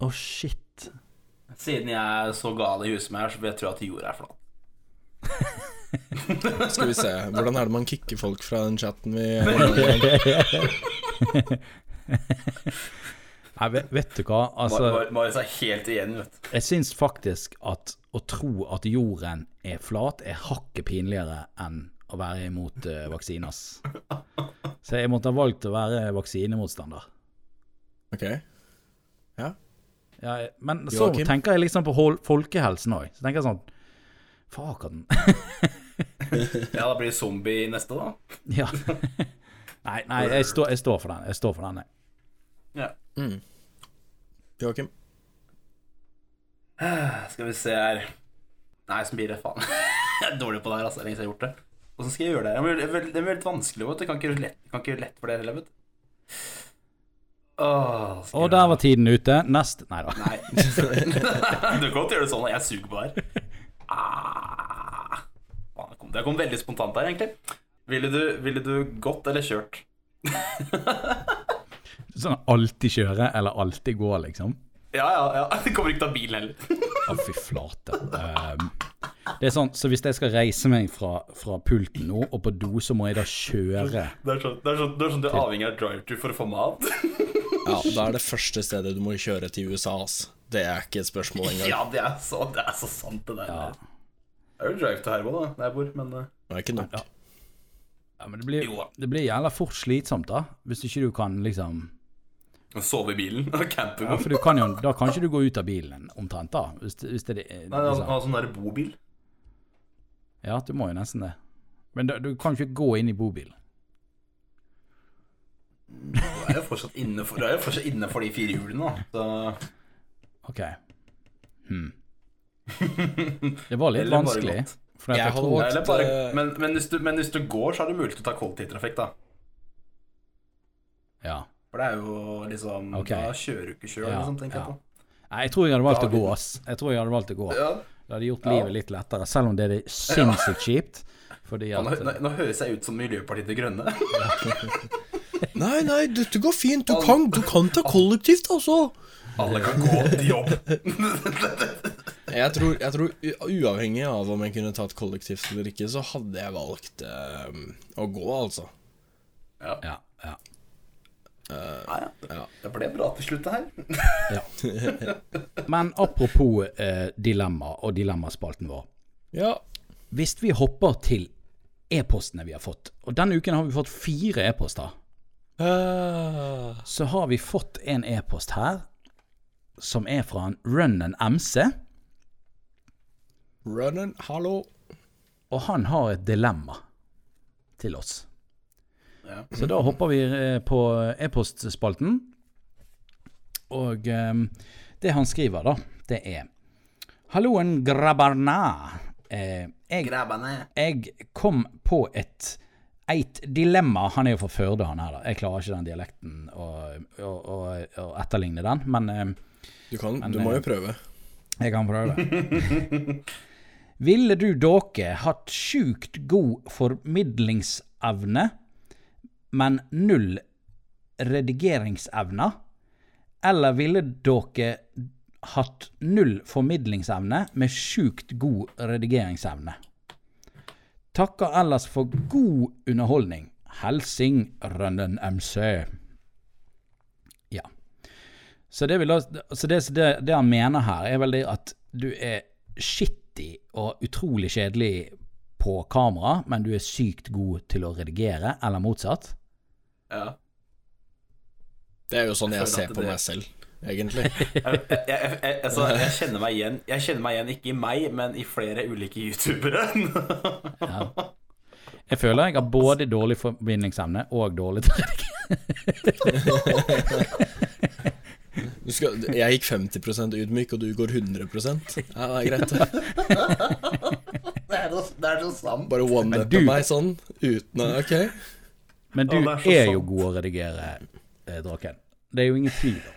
A: Å, shit.
C: Siden jeg er så gal i huset med her, så vet jeg at jorda er flat.
B: skal vi se. Hvordan er det man kicker folk fra den chatten vi
A: Nei, vet, vet du hva, altså
C: Mar- Mar- Marius er helt igjen, vet du.
A: Jeg syns faktisk at å tro at jorden er flat, er hakket pinligere enn å være imot eh, vaksiner. ass. Så jeg måtte ha valgt å være vaksinemotstander.
B: Ok. Ja.
A: Ja, jeg- men så
B: Joakim?
A: tenker jeg liksom på hol folkehelsen òg. Så tenker jeg sånn Faken.
C: Ja, da blir det zombie neste, da.
A: ja. Nei, nei jeg, står- jeg står for den. Jeg står for den, jeg.
C: Ja.
B: Mm. Joakim.
C: Skal vi se her Nei, så blir det faen. Jeg er dårlig på det her, altså. Lenge siden jeg har gjort det. Åssen skal jeg gjøre det? her? Det er veldig, det er veldig vanskelig. Vet du. Jeg Kan ikke gjøre lett, jeg kan ikke gjøre lett for dere heller, vet du. Åh, skal
A: Og
C: jeg-
A: der var tiden ute. Nest Nei da.
C: Nei. du kan godt gjøre det sånn. Jeg suger på det her. Ah. Faen, det kom- Det kom veldig spontant her, egentlig. Ville du, ville du gått eller kjørt?
A: Sånn alltid kjøre eller alltid gå, liksom.
C: Ja, ja, ja. Det kommer ikke til å ta bilen heller.
A: Å, fy flate. Ehm, det er sånn, så hvis jeg skal reise meg fra, fra pulten nå og på do, så må jeg da kjøre
C: Det er sånn, det er sånn, det er sånn du er avhengig av drive-to for å få mat.
B: Ja, da er det første stedet du må kjøre til USA, ass. Det er ikke et spørsmål engang.
C: Ja, det er så, det er så sant, det der. Det er jo drive-to her òg, da, der jeg bor, men eh,
B: Det er ikke nok.
A: ja, men det, blir,
C: Jo da.
A: det blir jævla fort slitsomt, da. Hvis ikke du kan liksom
C: Sove i bilen og campe.
A: Ja, for du kan jo, da kan ikke du gå ut av bilen omtrent, da. Hvis, det- hvis det er
C: Nei, han
A: liksom.
C: har sånn der bobil.
A: Ja, du må jo nesten det. Men da, du kan ikke gå inn i bobilen.
C: Du er jo fortsatt innenfor, du er jo fortsatt innenfor de fire hjulene, da. Så,
A: OK. Hmm. Det var litt
C: Eller bare
A: vanskelig.
C: gått.
A: For jeg
B: Jeg hadde
A: tror
B: valgt-
C: eller bare,
B: eh,
C: men, men, hvis du, men hvis du går, så er det mulig til å ta kollektivtrafikk, da.
A: Ja.
C: For det er jo liksom
A: Ok.
C: Da kjører du ikke sjøl,
A: Ja,
C: liksom, tenker
A: ja.
C: jeg på.
A: Nei, jeg tror jeg hadde valgt å
C: Da-
A: gå, ass. Jeg tror jeg hadde valgt å gå.
C: Ja.
A: Det hadde gjort
C: Ja.
A: livet litt lettere, selv om det er sinnssykt kjipt. Fordi
C: Nå,
A: at
C: nå, nå høres jeg ut som Miljøpartiet De Grønne.
B: Nei, nei, dette går fint. Du kan, du kan ta kollektivt, altså.
C: Alle kan gå til jobb.
B: Jeg tror, jeg tror u- uavhengig av om jeg kunne tatt kollektivt eller ikke, så hadde jeg valgt eh, å gå, altså.
A: Ja. ja.
C: Nei, ja. Det ble bra til slutt, det her.
A: Men apropos eh, dilemma og dilemmaspalten vår.
B: Ja.
A: Hvis vi hopper til e-postene vi har fått, og denne uken har vi fått fire e-poster,
B: Ah.
A: så har vi fått en e-post her som er fra en Run and MC,
B: Running, hallo.
A: og han har et dilemma til oss.
C: Ja.
A: Så da hopper vi eh, på e-postspalten. Og eh, det han skriver, da, det er Halloen, grabbarna. Eh, jeg,
C: Grabbene.
A: jeg kom på et eit dilemma Han er jo fra Førde, han her, da. Jeg klarer ikke den dialekten å, å, å, å etterligne den, men eh,
B: Du, kan, du må jo prøve.
A: jeg kan prøve. Ville du dere hatt sjukt god formidlingsevne, men null redigeringsevne? Eller ville dere hatt null formidlingsevne med sjukt god redigeringsevne? Takker ellers for god underholdning. Helsing Rønnen MC. Ja. Så det, vil, da- så det, så det, det han mener her, er vel det at du er shitty og utrolig kjedelig på kamera, men du er sykt god til å redigere, eller motsatt.
C: Ja.
B: Det er jo sånn
C: Jeg
B: jeg
C: føler at
B: ser på
C: det-
B: meg selv, egentlig.
C: Jeg, jeg, jeg, jeg, altså, jeg kjenner meg igjen Jeg kjenner meg igjen ikke i meg, men i flere ulike youtubere.
A: Jeg føler jeg har både dårlig forbindingsevne og dårlig trekk.
B: Du skal, jeg gikk 50 ydmyk, og du går 100 Ja, det er greit. det.
C: det, er så, det er så sant.
B: Bare one-uppe
A: du-
B: meg sånn uten å Ok.
A: Men du
C: Å,
A: er,
C: det er så
A: jo
C: sant.
A: god å redigere, eh, Draken. Det er jo ingen tvil om.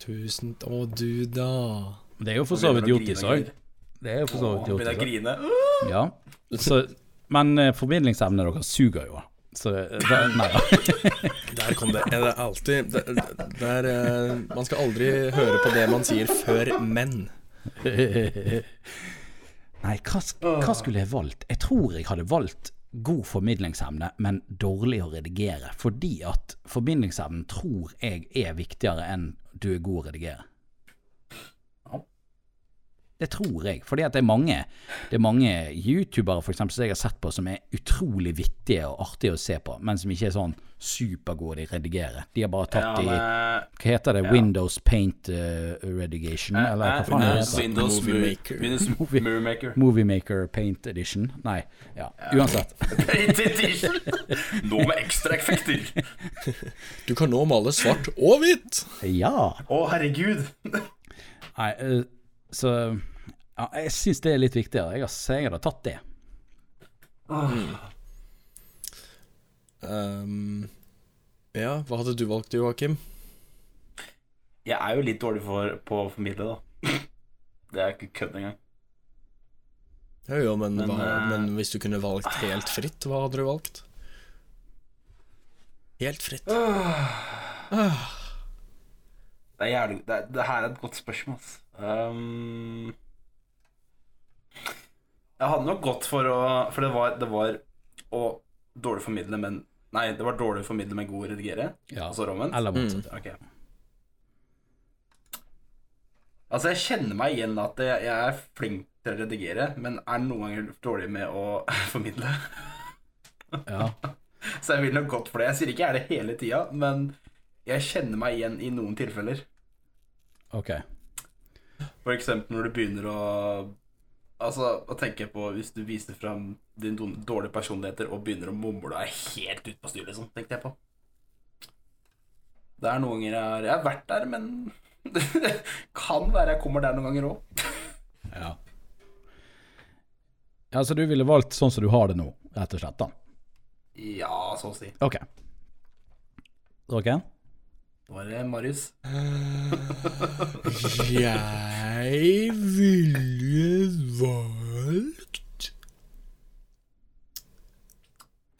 B: Tusen Å, du, da.
A: Det er jo for så vidt
C: Begynner å grine
A: jottis
C: og
A: òg.
C: greier.
A: Det er jo for så vidt
C: Begynner jeg å
A: jottis òg.
C: grine.
A: Ja. Så, men eh, formidlingsevne dere suger jo. Så eh, da, nei da.
B: Der kom det. Er det alltid det, det er, eh, Man skal aldri høre på det man sier før men.
A: Nei, hva, sk- hva skulle jeg valgt? Jeg tror jeg hadde valgt god formidlingsevne, men dårlig å redigere. Fordi at formidlingsevnen tror jeg er viktigere enn du er god å redigere. Det tror jeg. Fordi at det er mange, det er mange youtubere for eksempel, som jeg har sett på, som er utrolig vittige og artige å se på, men som ikke er sånn supergode i å redigere. De har bare tatt
C: Ja,
A: i
C: men,
A: Hva heter det? Windows Paint eh, Redigation? Eller hva faen er det?
C: Windows,
A: heter?
C: Windows,
B: Movie Maker.
C: Movie- Windows
A: Movie-
C: Movie Maker.
A: Moviemaker Paint Edition? Nei. Ja, uansett.
C: Paint edition. Nå med ekstra effekter. Å,
B: Du kan nå male svart og hvitt!
A: Ja.
C: herregud.
A: Nei, eh, så ja, Jeg syns det er litt viktigere. Jeg har, så jeg hadde tatt det.
B: Ehm, ja, hva hadde du valgt, Joakim?
C: Jeg er jo litt dårlig for, på å formidle, da. Det er ikke kødd engang.
B: Jo, jo, men,
C: Men,
B: hva,
C: eh,
B: men hvis du kunne valgt helt fritt, hva hadde du valgt? Helt fritt.
C: Det er jævlig Det, er- det her er et godt spørsmål, ass. Ehm, jeg hadde nok gått for å For det var, det var å dårlig formidle, men Nei, det var dårlig formidle, men god redigere.
A: Ja.
C: Altså Rommen.
A: Eller motsatt.
C: Ok. Altså, jeg kjenner meg igjen at jeg, jeg er flink til å redigere, men er noen ganger dårlig med å formidle.
A: Ja.
C: Så jeg vil nok godt for det. Jeg sier ikke jeg er det hele tida, men jeg kjenner meg igjen i noen tilfeller.
A: Ok.
C: For eksempel når du begynner å Altså, å tenke på hvis du viser fram dine don- dårlige personligheter og begynner å mumle deg helt ut på styr, liksom, tenkte jeg på. Det er noen ganger jeg har Jeg har vært der, men Kan være jeg kommer der noen ganger òg.
A: Ja. ja. Så du ville valgt sånn som du har det nå, rett og slett? da
C: Ja, så å si.
A: Ok. Dere?
C: Det var det, Marius.
B: Jeg ville valgt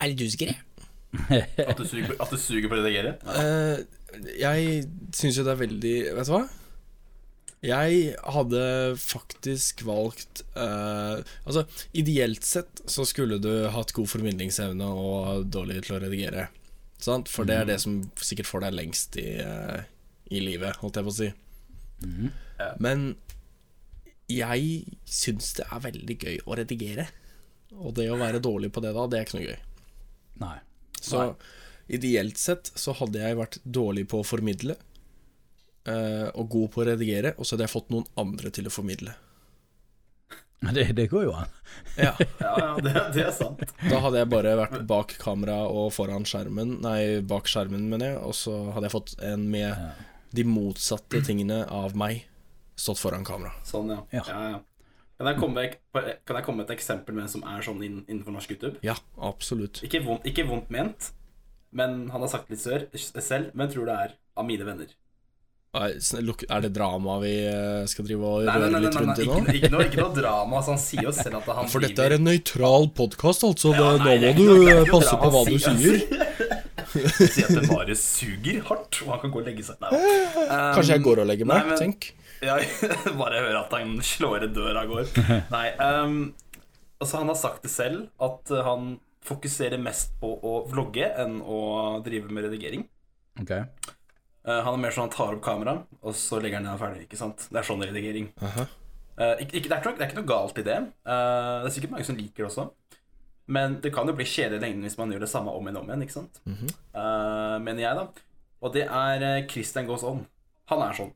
B: Er det du som greier?
C: At du suger, på- at du suger på å redigere?
B: Eh, jeg syns jo det er veldig Vet du hva? Jeg hadde faktisk valgt eh, Altså, ideelt sett så skulle du hatt god formidlingsevne og dårlig til å redigere. Sant? For det er det som sikkert får deg lengst i, eh, i livet, holdt jeg på å si. Men jeg syns det er veldig gøy å redigere. Og det å være dårlig på det da, det er ikke noe gøy.
A: Nei.
B: Så ideelt sett så hadde jeg vært dårlig på å formidle, eh, og god på å redigere, og så hadde jeg fått noen andre til å formidle.
A: Men Det, det går jo an.
B: Ja,
C: Ja, ja, det, det er sant.
B: Da hadde jeg bare vært bak kamera og foran skjermen, nei, bak skjermen, mener jeg, og så hadde jeg fått en med de motsatte tingene av meg stått foran kamera.
C: Sånn, ja.
A: Ja.
C: ja. ja, Kan, jeg komme, kan jeg komme med et eksempel med en som er sånn inn, innenfor norsk YouTube?
B: Ja, absolutt.
C: Ikke vondt, ikke vondt ment, men han har sagt litt sør selv, men tror det er av mine venner.
B: Nei, sn- lukk- Er det drama vi eh, skal drive og
C: Nei, nei,
B: røre
C: nei, nei,
B: litt
C: nei,
B: rundt i
C: ikke,
B: nå?
C: ikke, noe, ikke noe drama. Altså, han sier jo selv at han
B: For dette er
C: driver-
B: en nøytral podkast, altså.
C: Ja,
B: det-
C: nei, det er
B: nå må
C: ikke
B: du
C: noe- det er
B: eh,
C: ikke noe
B: passe
C: drama,
B: på hva
C: han
B: du
C: sier-
B: sier.
C: Han sier at det bare suger hardt, og han kan gå og legge seg. Nei, da.
B: Kanskje
A: Um,
B: jeg går og legger meg,
C: Nei, men-
B: tenk.
C: Ja, bare høre at han slår i døra og går. Nei, ehm, altså han har sagt det selv, at eh, han fokuserer mest på å vlogge enn å drive med redigering.
A: Ok.
C: Eh, han er mer sånn han tar opp kameraet, og så legger han ned ferdig, ikke sant? Det er sånn redigering.
B: Aha.
C: Eh, ikke, ikke, det, er ikke, noe- det er ikke noe galt i det. Eh, det er sikkert mange som liker det også. Men det kan jo bli kjedelig i lengden hvis man gjør det samme om igjen og om igjen, ikke sant?
A: Mhm.
C: Eh, mener jeg, da. Og det er eh, Christian Goes On. Han er sånn,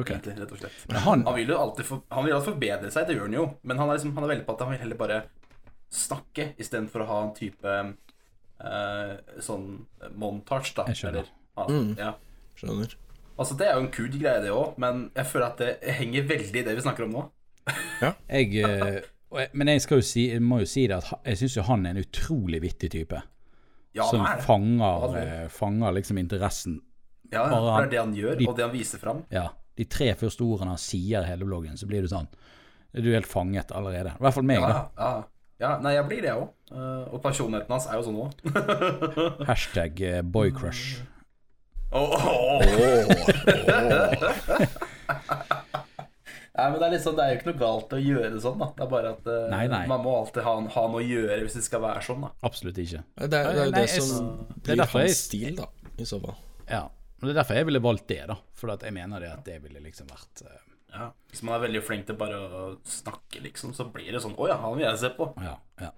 A: ok
C: egentlig, rett og slett.
A: Men han
C: Han vil jo alltid, for, han vil alltid forbedre seg, det gjør han jo. Men han er, liksom, han er veldig på at han vil heller bare snakke istedenfor å ha en type eh, sånn montage, da.
A: Jeg skjønner. Mm.
C: ja, ja.
B: Skjønner.
C: Altså, det er jo en kul greie, det òg, men jeg føler at det henger veldig i det vi snakker om nå.
A: jeg, eh, og jeg- Men jeg, skal jo si, jeg må jo si det at ha- jeg syns jo han er en utrolig vittig type.
C: Ja,
A: som
C: det er det.
A: fanger,
C: det
A: eh, fanger liksom interessen.
C: Ja, ja,
A: Bare
C: for det
A: han-
C: er det han gjør,
A: de-
C: og det han viser fram.
A: Ja. De tre første ordene han sier i hele bloggen, så blir du sånn Du er helt fanget allerede. I hvert fall meg,
C: Ja,
A: da.
C: ja, ja. Nei, jeg blir det òg. og personligheten hans er jo sånn òg.
A: Hashtag eh, boycrush.
C: Nei, men det er, liksom, det er jo ikke noe galt å gjøre det sånn, da. Det er bare at eh,
A: Nei, nei.
C: man må alltid ha, ha noe å gjøre hvis det skal være sånn, da.
A: Absolutt ikke.
B: Nei, Det er, det er jo
A: Nei,
B: det
A: jeg-
B: som
A: det er
B: blir
A: derfor jeg-
B: hans stil, da, i så fall.
A: Ja. Og Det er derfor jeg ville valgt det, da. For at jeg mener det at det ville liksom vært eh,
C: Ja. Hvis man er veldig flink til bare å snakke, liksom, så blir det sånn Å ja, han vil jeg se på.
A: Ja, ja.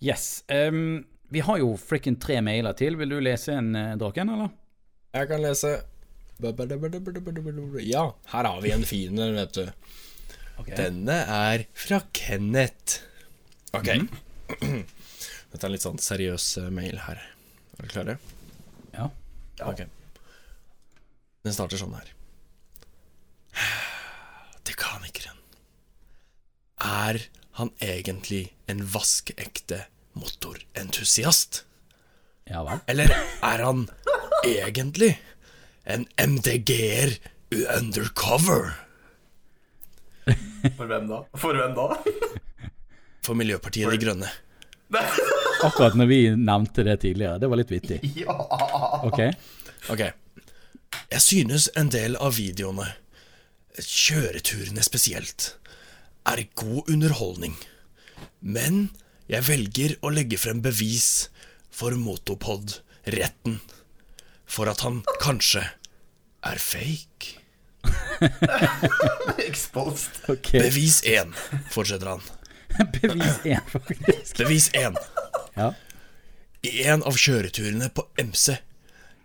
A: Yes. ehm, vi har jo frikken tre mailer til. Vil du lese en, eh, Draken, eller?
B: Jeg kan lese Ja, her har vi en fin en, vet du. Denne er fra Kenneth. Ok.
A: Mhm.
B: Dette er en litt sånn seriøs eh, mail her. Er dere klare?
A: Ja.
B: Ok. Den starter sånn her. Dekanikeren. Er han egentlig en vaskeekte motorentusiast?
A: Ja vel.
B: Eller er han egentlig en MDG-er undercover
C: For hvem da? For hvem da?
B: for Miljøpartiet De Grønne?
A: Akkurat når vi nevnte det tidligere. Det var litt vittig. Ok.
B: Ok. Jeg synes en del av videoene, kjøreturene spesielt, er god underholdning. Men jeg velger å legge frem bevis for Motopod-retten for at han kanskje er fake.
C: Exposed.
A: ok
B: Bevis én, fortsetter han.
A: Bevis én, faktisk.
B: Bevis én.
A: Ja.
B: I en av kjøreturene på MC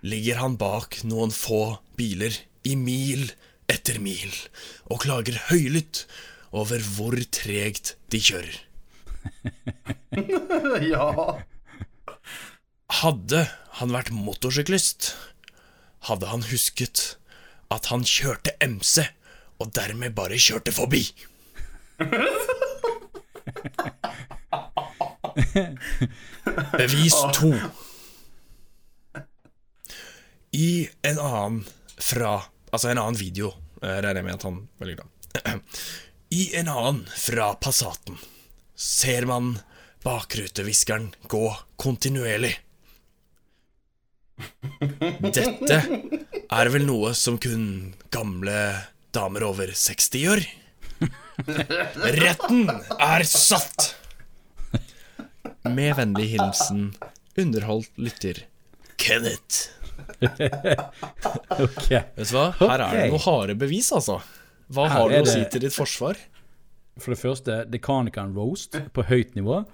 B: ligger han bak noen få biler i mil etter mil og klager høylytt over hvor tregt de kjører.
C: Ja.
B: Hadde han vært motorsyklist, hadde han husket at han kjørte MC og dermed bare kjørte forbi. Bevis to. I en annen fra Altså en annen video, eh, regner jeg med at han velger da. I en annen fra Passaten ser man bakruteviskeren gå kontinuerlig. Dette er vel noe som kun gamle damer over 60 gjør. Retten er satt! Med vennlig hilsen underholdt lytter Kenneth.
A: Ok.
B: Vet du hva? Her er det
A: Ok.
B: noe harde bevis, altså. Hva
A: Her
B: har du
A: er
B: å si
A: det-
B: til ditt forsvar?
A: For det første, Decanican roast på høyt nivå.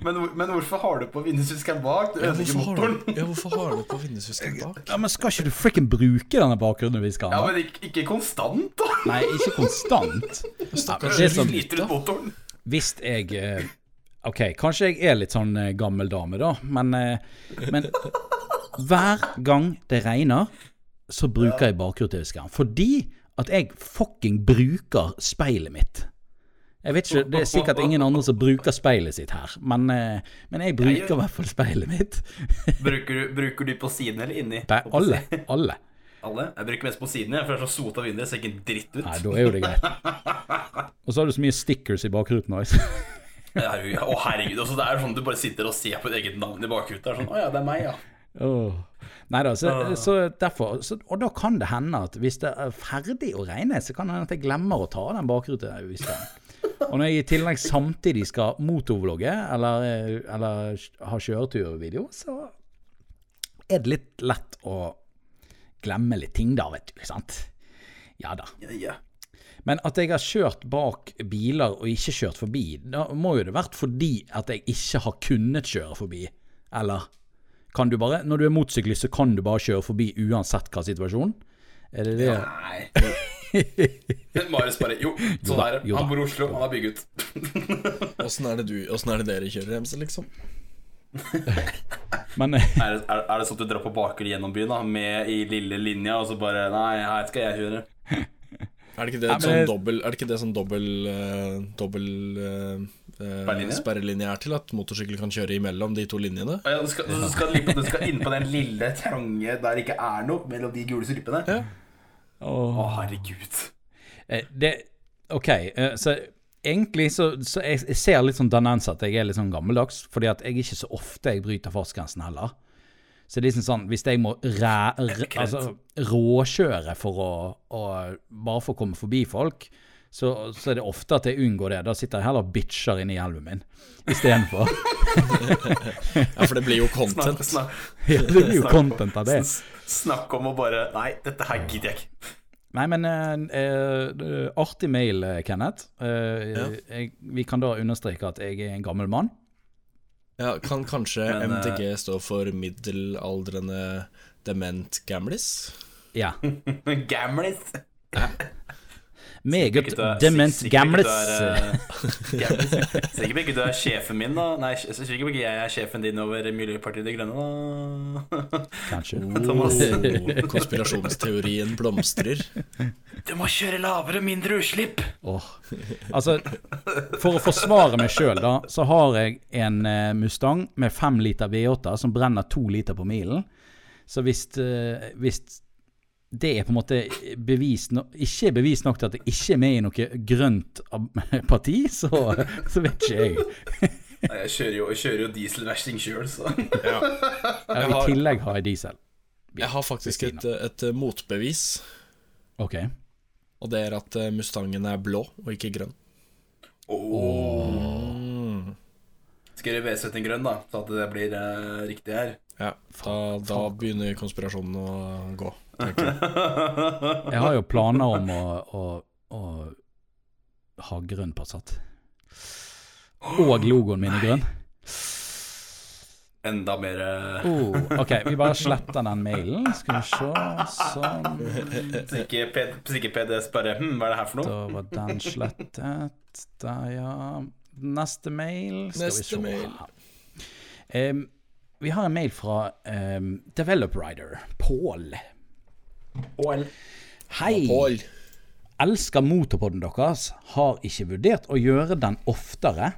C: Men, hvor- men hvorfor har du på vindusviskeren bak? Du ødelegger
B: Hvorfor har
C: motoren.
B: du, ja, hvorfor har du på vindusvisken bak?
A: Ja, men skal ikke du frikken bruke denne bakgrunnen vi skal
C: Ja,
A: ha?
C: men ikke, ikke konstant, da.
A: Nei, ikke konstant.
B: Stakkars
A: Det er
C: Du
A: sånn-
C: sliter ut motoren.
A: Hvis jeg eh, Ok, kanskje jeg er litt sånn eh, gammel dame, da, men, eh, men hver gang det regner, så bruker jeg bakruteviskeren. Fordi at jeg fucking bruker speilet mitt. Jeg vet ikke, Det er sikkert ingen andre som bruker speilet sitt her, men, eh, men jeg bruker i hvert fall speilet mitt.
C: Bruker du, bruker du på siden eller inni?
A: Nei, alle. alle.
C: Alle? Jeg bruker mest på siden, jeg, for det er så sota vinduer, det ser ikke en dritt ut.
A: Nei, da er jo det greit. Og så har du så mye stickers i bakruten også.
C: Det er jo- Å, herregud. Altså, det er jo sånn du bare sitter og ser på ditt eget navn i bakhuet. Det er sånn Å ja, det er meg, ja.
A: Åh. Neida, så, så derfor så, Og da kan det hende at hvis det er ferdig å regne, så kan det hende at jeg glemmer å ta den bakruteviskeren. Og når jeg i tillegg samtidig skal motorvlogge eller, eh, eller ha kjøreturvideo, så er det litt lett å glemme litt ting da, vet du. ikke sant? Ja da.
C: Ja, ja.
A: Men at jeg har kjørt bak biler og ikke kjørt forbi, da må jo det vært fordi at jeg ikke har kunnet kjøre forbi. Eller kan du bare Når du er motorsyklist, så kan du bare kjøre forbi uansett hva situasjonen? Er det det?
C: Nei. Marius bare Jo, sånn er det.
A: jo da.
C: Han bor i Oslo, han har bygget.
B: Åssen er, det du- åssen er det dere kjører, MC, liksom?
A: Men eh,
C: Er det, er, er det sånn at du drar på baker gjennom byen, da, med i lille linja, og så bare Nei, her skal jeg kjøre.
B: Er det ikke det,
A: men
B: sånn
A: det-
B: dobbel, er det, ikke det sånn dobbel, eh, dobbel eh, eh,
C: Sperrelinje?
B: sperrelinje er til? At motorsykkel kan kjøre imellom de to linjene?
C: Å Ja, du, skal, du, skal, ligge på- du skal inn på den lille, trange der det ikke er noe, mellom de gule stripene. Å,
A: åh,
C: herregud.
A: eh, det OK, eh, så egentlig så, så jeg, jeg ser litt sånn tendens at jeg er litt sånn gammeldags, fordi at jeg ikke så ofte jeg bryter fartsgrensen heller. Så det er liksom sånn, hvis jeg må ræ, r, altså, råkjøre for å, å bare for å komme forbi folk, så, så er det ofte at jeg unngår det. Da sitter jeg heller og bitcher inni hjelmen min istedenfor.
B: Ja, for det blir jo content.
C: Snart, snart.
A: Ja, det blir jo content av det.
C: Sn- Snakk om å bare Nei, dette her gidder jeg ikke.
A: Nei, men eh, eh, artig mail, eh, Kenneth. Eh, jeg, vi kan da understreke at jeg er en gammel mann.
B: Ja, kan kanskje
C: Men, eh,
B: MDG stå for middelaldrende dement gamlis?
A: Ja.
C: Gamlis.
A: Meget
C: Sikkert du er-
A: dement
C: sikkert ikke
A: gamles.
C: du er, eh, gamlis. Sikkert ikke du er sjefen min, da. Nei, sikkert ikke jeg er sjefen din over Miljøpartiet De Grønne, da.
A: Kanskje.
C: Thomas.
B: Oh, konspirasjonsteorien blomstrer.
C: Du må kjøre lavere, mindre utslipp.
A: Åh. Altså, for å forsvare meg sjøl, da, så har jeg en eh, Mustang med fem liter V8 som brenner to liter på milen. Så hvis, eh, hvis det er på en måte bevis no ikke er bevis nok til at jeg ikke er med i noe grønt ab- parti, så, så vet ikke jeg.
C: Nei, jeg kjører jo, jeg kjører jo dieselversting sjøl, så
A: Ja, I tillegg har jeg diesel.
B: Jeg har faktisk et, et motbevis,
A: Ok.
B: og det er at eh, Mustangen er blå og ikke grønn.
A: Oh.
B: Mm.
C: Skal jeg V7 en grønn, da, så at det blir eh, riktig her.
B: Ja, da, da begynner konspirasjonen å gå. tenker jeg.
A: Jeg har jo planer om å, å, å ha grønn Passat. Og logoen min er grønn.
C: Enda mer eh,
A: Oh, ok, vi bare sletter den mailen. Skal vi se. Sånn.
C: Hvis ikke P- hvis ikke PDS bare Hm, hva er det her for
A: Da
C: noe?
A: var den slettet. Der, ja. Neste mail. Skal
B: Neste
A: vi se.
B: mail.
A: her. Em, vi har en mail fra um, Develop Rider, Pål. Hei.
B: Pål.
A: Elsker motorpodden deres. Har ikke vurdert å gjøre den oftere.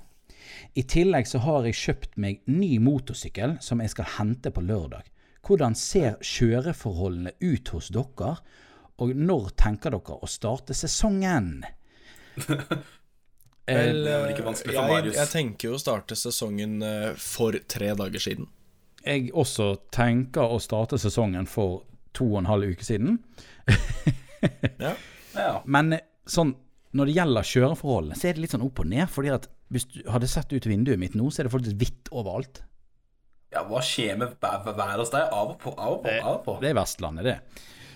A: I tillegg så har jeg kjøpt meg ny motorsykkel som jeg skal hente på lørdag. Hvordan ser kjøreforholdene ut hos dere, og når tenker dere å starte sesongen? Eh,
B: Vel,
C: Det er vel ikke vanskelig for
B: Eh, jeg,
C: Marius.
B: jeg tenker jo å starte sesongen eh, for tre dager siden.
A: Jeg også tenker å starte sesongen for to og en halv uke siden.
B: Ja.
C: Ja.
A: Men eh, sånn, når det gjelder kjøreforholdene, så er det litt sånn opp og ned. fordi at hvis du hadde sett ut vinduet mitt nå, så er det faktisk hvitt overalt.
C: ja, hva skjer med vær- vær- været hos deg? Av og på, av og
B: Eh.
C: på, av og på.
A: Det er Vestlandet, det.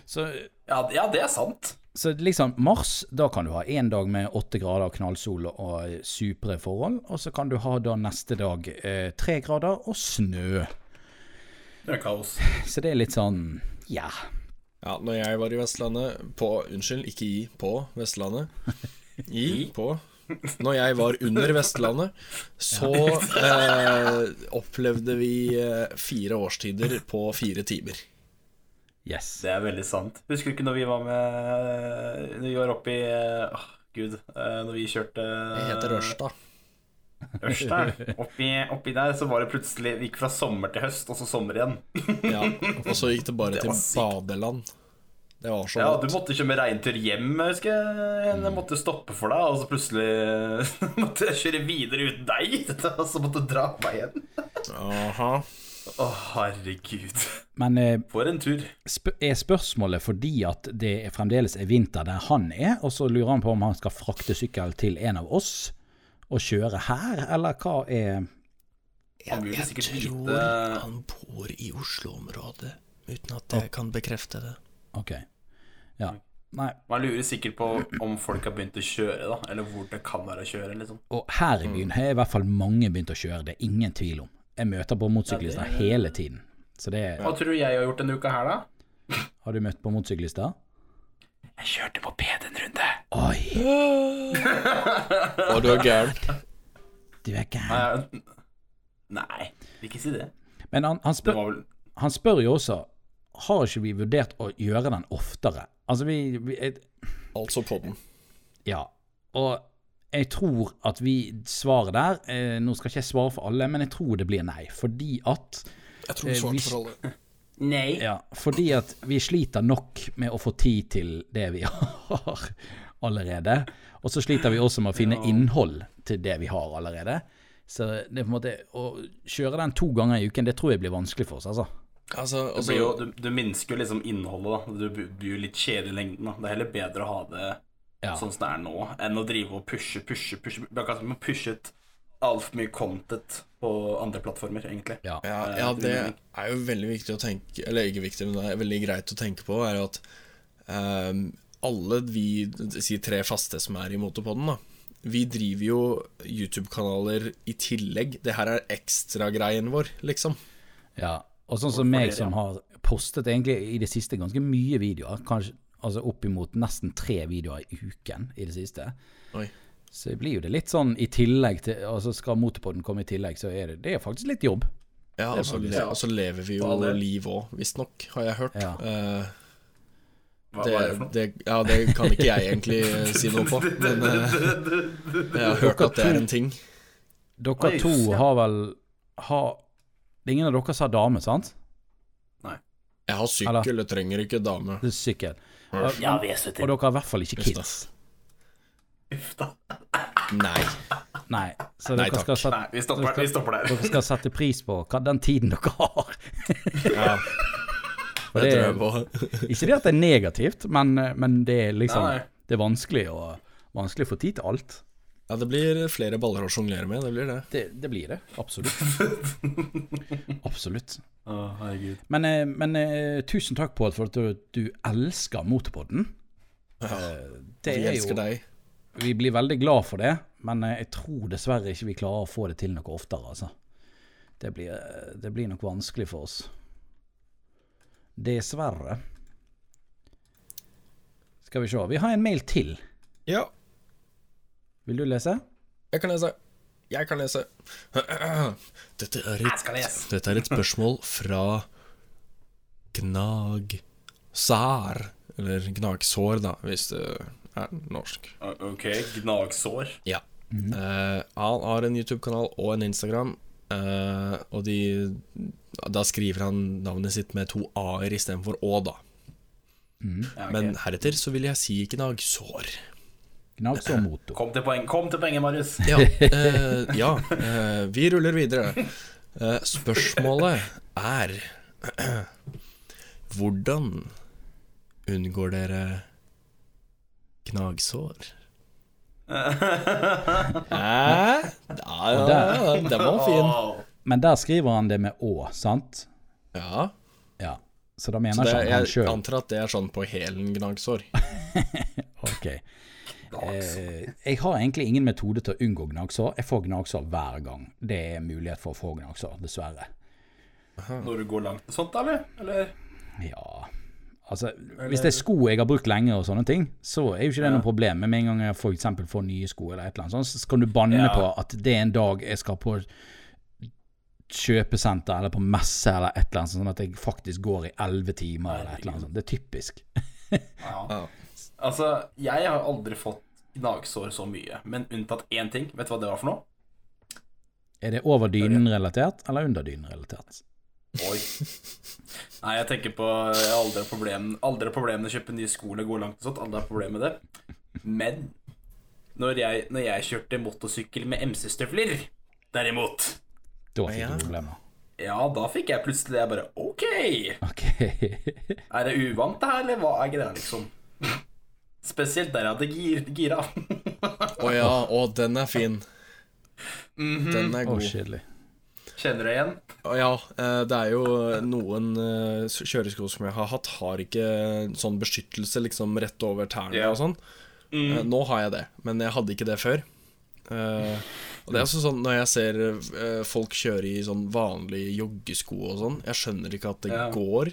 A: Så,
C: Ja, det- ja, det er sant.
A: så liksom mars, da kan du ha én dag med åtte grader knallsol og supre forhold. Og så kan du ha da neste dag eh, tre grader og snø.
C: Det er kaos.
A: Så det er litt sånn ja.
B: Ja, når jeg var i Vestlandet På, unnskyld, ikke i, på Vestlandet I, på Når jeg var under Vestlandet Så eh, opplevde vi eh, fire årstider på fire timer
A: Yes.
C: Det er veldig sant. Husker du ikke når vi var med eh, Når vi var oppe i Åh, gud. eh, Når vi kjørte
B: Det heter Ørsta
C: Ørsta. Oppi, oppi der så var det plutselig Vi gikk fra sommer til høst, og så sommer igjen.
B: ja, Og så gikk det bare
C: Det
B: til
C: var sykt.
B: badeland Det var så
C: Ja, du
B: godt
C: måtte kjøre med regntur hjem, jeg husker jeg. Jeg måtte stoppe for deg, og så plutselig måtte jeg kjøre videre uten deg. Og så måtte du dra meg igjen.
B: Aha.
C: Å, herregud.
A: Men eh,
C: For en tur.
A: sp er spørsmålet fordi at det er fremdeles er vinter der han er, og så lurer han på om han skal frakte sykkel til en av oss og kjøre her, eller hva er
C: Han burde
B: Jeg
C: sikkert
B: tror
C: vite
B: han bor i Oslo-området Uten at jeg kan bekrefte det
A: Ok. Ja. Nei.
C: Man lurer sikkert på om folk har begynt å kjøre, da. Eller hvor det kan være å kjøre, liksom.
A: Og her i byen har i hvert fall mange begynt å kjøre, det er ingen tvil om. Jeg møter på motorsyklister hele tiden. Så det er,
C: Hva tror du jeg har gjort denne uka her, da?
A: Har du møtt på motorsyklister?
C: Jeg kjørte moped en runde.
A: Oi,
B: Og du er gæren
A: du er gæren.
C: Nei, nei, vil ikke si det.
A: Men han, han,
C: Det
A: spør,
C: var vel
A: han spør jo også Har ikke vi vurdert å gjøre den oftere? Altså, vi, vi jeg-
B: Altså på den
A: Ja. Og jeg tror at vi svarer der eh, Nå skal ikke jeg svare for alle, men jeg tror det blir nei. Fordi at
B: Jeg tror
A: Eh,
B: du svarte
A: hvis-
B: for alle
C: Nei.
A: Ja, fordi at vi sliter nok med å få tid til det vi har allerede. Og så sliter vi også med å finne innhold til det vi har allerede. Så det er på en måte å kjøre den to ganger i uken, det tror jeg blir vanskelig for oss, altså.
B: Altså,
C: Det
B: altså
C: blir jo, du, du minsker jo liksom innholdet, da. Du blir jo litt kjedelig i lengden. da Det er heller bedre å ha det
A: Ja.
C: sånn som det er nå, enn å drive og pushe, pushe, pushe. Det er akkurat som å pushe et altfor mye content på andre plattformer, egentlig.
A: Ja.
B: Ja, ja, det er jo veldig viktig å tenke Eller ikke viktig, men det er veldig greit å tenke på, er jo at ehm, alle vi si tre faste som er i Motorpodden, da, vi driver jo YouTube-kanaler i tillegg. Det her er ekstragreien vår, liksom.
A: Ja, og sånn som meg som har postet egentlig i det siste ganske mye videoer, kanskje altså oppimot nesten tre videoer i uken i det siste,
B: Oi.
A: så blir jo det litt sånn i tillegg til, altså skal motorpodden komme i tillegg, så er det, det er faktisk litt jobb.
B: Ja, altså, og så
C: faktisk-
B: og så lever vi jo
C: Ja, det-
B: liv òg, visstnok, har jeg hørt.
A: Ja.
B: Eh,
C: Hva,
B: det,
C: hva er det for noe?
B: det, ja, det kan ikke jeg egentlig eh, si noe på, men eh, jeg har hørt at det er en ting.
A: Dere
C: Oi,
A: to
C: ja.
A: har vel, har, det er ingen av dere som har dame, sant?
B: Jeg har sykkel, jeg trenger ikke dame.
A: Det er sykkel.
C: Ja, vi er så
A: Og dere har i hvert fall ikke
B: Just
A: kids.
C: Uff da.
B: Nei.
A: Nei, så
B: Nei,
A: dere skal,
B: takk.
A: sette,
C: Nei, vi stopper, vi stopper der.
A: dere skal sette pris på hva, den tiden dere har.
B: Ja,
A: Og
B: det
A: det
B: tror
A: er
B: jeg på.
A: Ikke det at det er negativt, men, men det er liksom
C: Nei, nei.
A: Det er vanskelig å, vanskelig å få tid til alt.
B: Ja, det blir flere baller å sjonglere med, det blir det.
A: Det, det blir det. Absolutt. Absolutt.
C: Å, herregud.
A: Men, eh, men eh, tusen takk, Pål, for at du, du elsker motorpodden. Eh, Det
B: Vi
A: er jo
B: elsker deg.
A: Vi blir veldig glad for det, men eh, jeg tror dessverre ikke vi klarer å få det til noe oftere, altså. Det blir, eh, det blir nok vanskelig for oss. Dessverre. Skal vi se. Vi har en mail til.
B: Ja,
A: Vil du lese?
B: jeg kan lese. Jeg kan lese. Dette er et,
C: lese.
B: dette er et spørsmål fra Gnagsar Eller Gnagsår, da, hvis det er norsk.
C: O- Ok, gnagsår.
B: Ja. Eh, han har en YouTube-kanal og en Instagram, eh, og de Da skriver han navnet sitt med to a-er istedenfor å, da.
C: Ja, ok.
B: Men heretter så vil jeg si gnagsår.
A: Gnagsår motor.
C: Kom til poeng, kom til poenget, Marius.
B: Ja, eh, ja eh, vi ruller videre. Eh, spørsmålet er Hvordan unngår dere gnagsår? Hæ? Ja, ja, ja, den var fin.
C: Å,
A: Men der skriver han det med å, sant?
B: Ja.
A: Ja. Så da mener ikke
B: Det,
A: sånn han han
B: jeg
A: sjøl.
B: antar at det er sånn på hælen gnagsår.
A: Ok.
C: gnagsår.
A: Eh, jeg har egentlig ingen metode til å unngå gnagsår. Jeg får gnagsår hver gang. Det er mulighet for å få gnagsår, dessverre.
C: Når du går langt og sånt, da, eller? eller?
A: Ja Altså, hvis det er sko jeg har brukt lenge og sånne ting, så er jo ikke det noe problem. Men med en gang jeg for eksempel får nye sko eller et eller annet sånt, så kan du banne
C: Ja.
A: på at det er en dag jeg skal på kjøpesenter eller på messe eller et eller annet sånt, sånn at jeg faktisk går i elleve timer eller et eller annet sånt. Det er typisk.
C: Ja. Altså, jeg har aldri fått gnagsår så mye, men unntatt én ting. Vet du hva det var for noe?
A: Er det over dynen relatert eller under dynen relatert?
C: Oi. Nei, jeg tenker på Jeg har aldri problem, aldri problem med å kjøpe nye sko eller gå langt og sånt. Aldri har problem med det. Men når jeg, når jeg kjørte motorsykkel med MC-støvler, derimot
A: Da fikk
B: Ja.
A: du problemer.
C: Ja, da fikk jeg plutselig det. Jeg bare OK!
A: Ok.
C: Er det uvant det her, eller hva er greia, liksom? Spesielt der jeg hadde gir, gira.
B: Å ja, å, den er fin. Den er
A: Å,
B: god.
A: kjedelig.
C: Kjenner du igjen?
B: Å ja, eh, det er jo noen eh, s- kjøresko som jeg har hatt, har ikke sånn beskyttelse liksom rett over tærne
C: Ja. Mm.
B: og sånn. Eh, Nå har jeg det, men jeg hadde ikke det før. Eh, og det er også sånn når jeg ser eh, folk kjøre i sånn vanlige joggesko og sånn, jeg skjønner ikke at det
C: Ja.
B: går.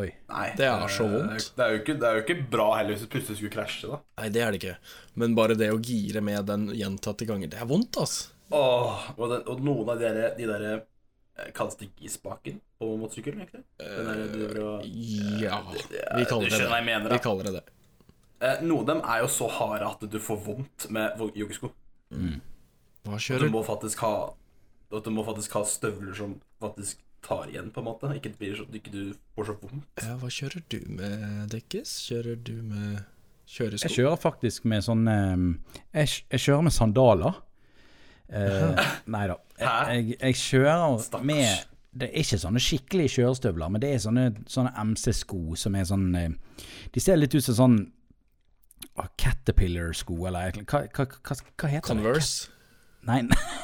A: Oi.
C: Nei.
B: Det er så
C: eh,
B: vondt.
C: Det er jo ikke, det er jo ikke bra heller hvis du plutselig skulle krasje, da.
B: Nei, det er det ikke. Men bare det å gire med den gjentatte ganger, det er vondt, ass.
C: Åh, og, den, og noen av de der, de der eh, Kalles det gispaken på motorsykkel, egentlig? Den der, du driver og-
A: Eh,
B: Ja, vi
C: det-
B: kaller
C: du
B: det
C: skjønner hva jeg
B: det.
C: mener, da.
B: Vi kaller det det.
C: eh, Noen av dem er jo så harde at du får vondt med vo- joggesko.
B: Hva
C: Du
B: kjører
C: må faktisk ha at du må faktisk ha støvler som faktisk tar igjen, på en måte. Ikke, det blir så, ikke du får så vondt.
B: ja, Hva kjører du med, Dekkes? Kjører du med
A: Jeg
B: kjøresko?
A: kjører faktisk med sånn eh, jeg, kj- jeg kjører med sandaler. Eh, nei da.
C: Hæ?
A: Jeg, jeg kjører
C: Stakkars.
A: med Det er ikke sånne skikkelige kjørestøvler, men det er sånne, sånne MC-sko som er sånn eh, De ser litt ut som sånn ah, Caterpillar-sko, eller et eller annet. hva, hva, hva, hva heter det?
B: Converse?
A: Nei,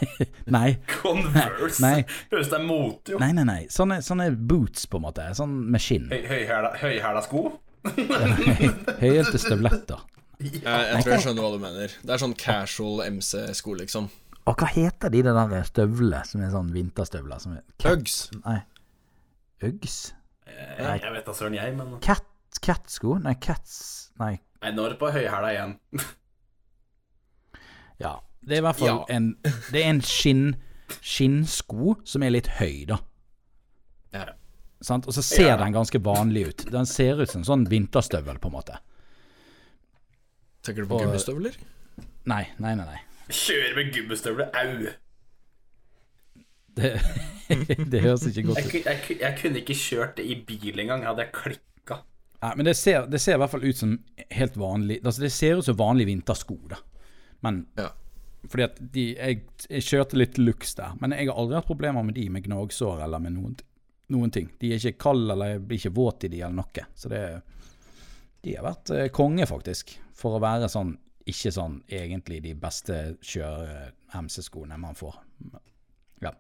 A: nei,
C: Converse.
A: Nei.
C: Høres det er mote, jo.
A: nei, nei, nei. Sånne, sånne boots, på en måte. Sånn med skinn.
C: Høy- høyhæla- Høyhæla sko?
A: Høyhælte støvletter.
B: Eh, Jeg, jeg tror jeg skjønner hva du mener. Det er sånn casual MC-sko, liksom.
A: Og hva heter de der der støvlene som er sånn vinterstøvler? Som er
B: Uggs.
A: Nei. Uggs? Eh,
C: Jeg, jeg vet da søren, jeg, men
A: Cat, catsko? Nei, cats Nei,
C: Nei, nå er det på høyhæla igjen.
A: ja. Det er i hvert fall
B: Ja.
A: en Det er en skinn skinnsko som er litt høy, da.
B: Ja.
A: Sant? Og så ser den ganske vanlig ut. Den ser ut som en sånn vinterstøvel, på en måte.
B: Tenker du på
A: Og-
B: gummistøvler?
A: Nei, nei, nei. nei.
C: Kjører med gummistøvler, au!
A: Det, det høres ikke godt
C: Jeg,
A: ut.
C: ku- jeg, ku- jeg kunne ikke kjørt det i bil engang, hadde jeg klikka.
A: Nei, men det ser, det ser i hvert fall ut som helt vanlig Altså, det ser ut som vanlige vintersko, da. Men
B: Ja.
A: fordi at de jeg, jeg kjørte litt lux der, men jeg har aldri hatt problemer med de med gnagsår eller med noen, noen ting. De er ikke kalde eller jeg blir ikke våt i de eller noe. Så det De har vært eh, konge, faktisk, for å være sånn ikke sånn egentlig de beste kjøre-MC-skoene man får. Men- Ja.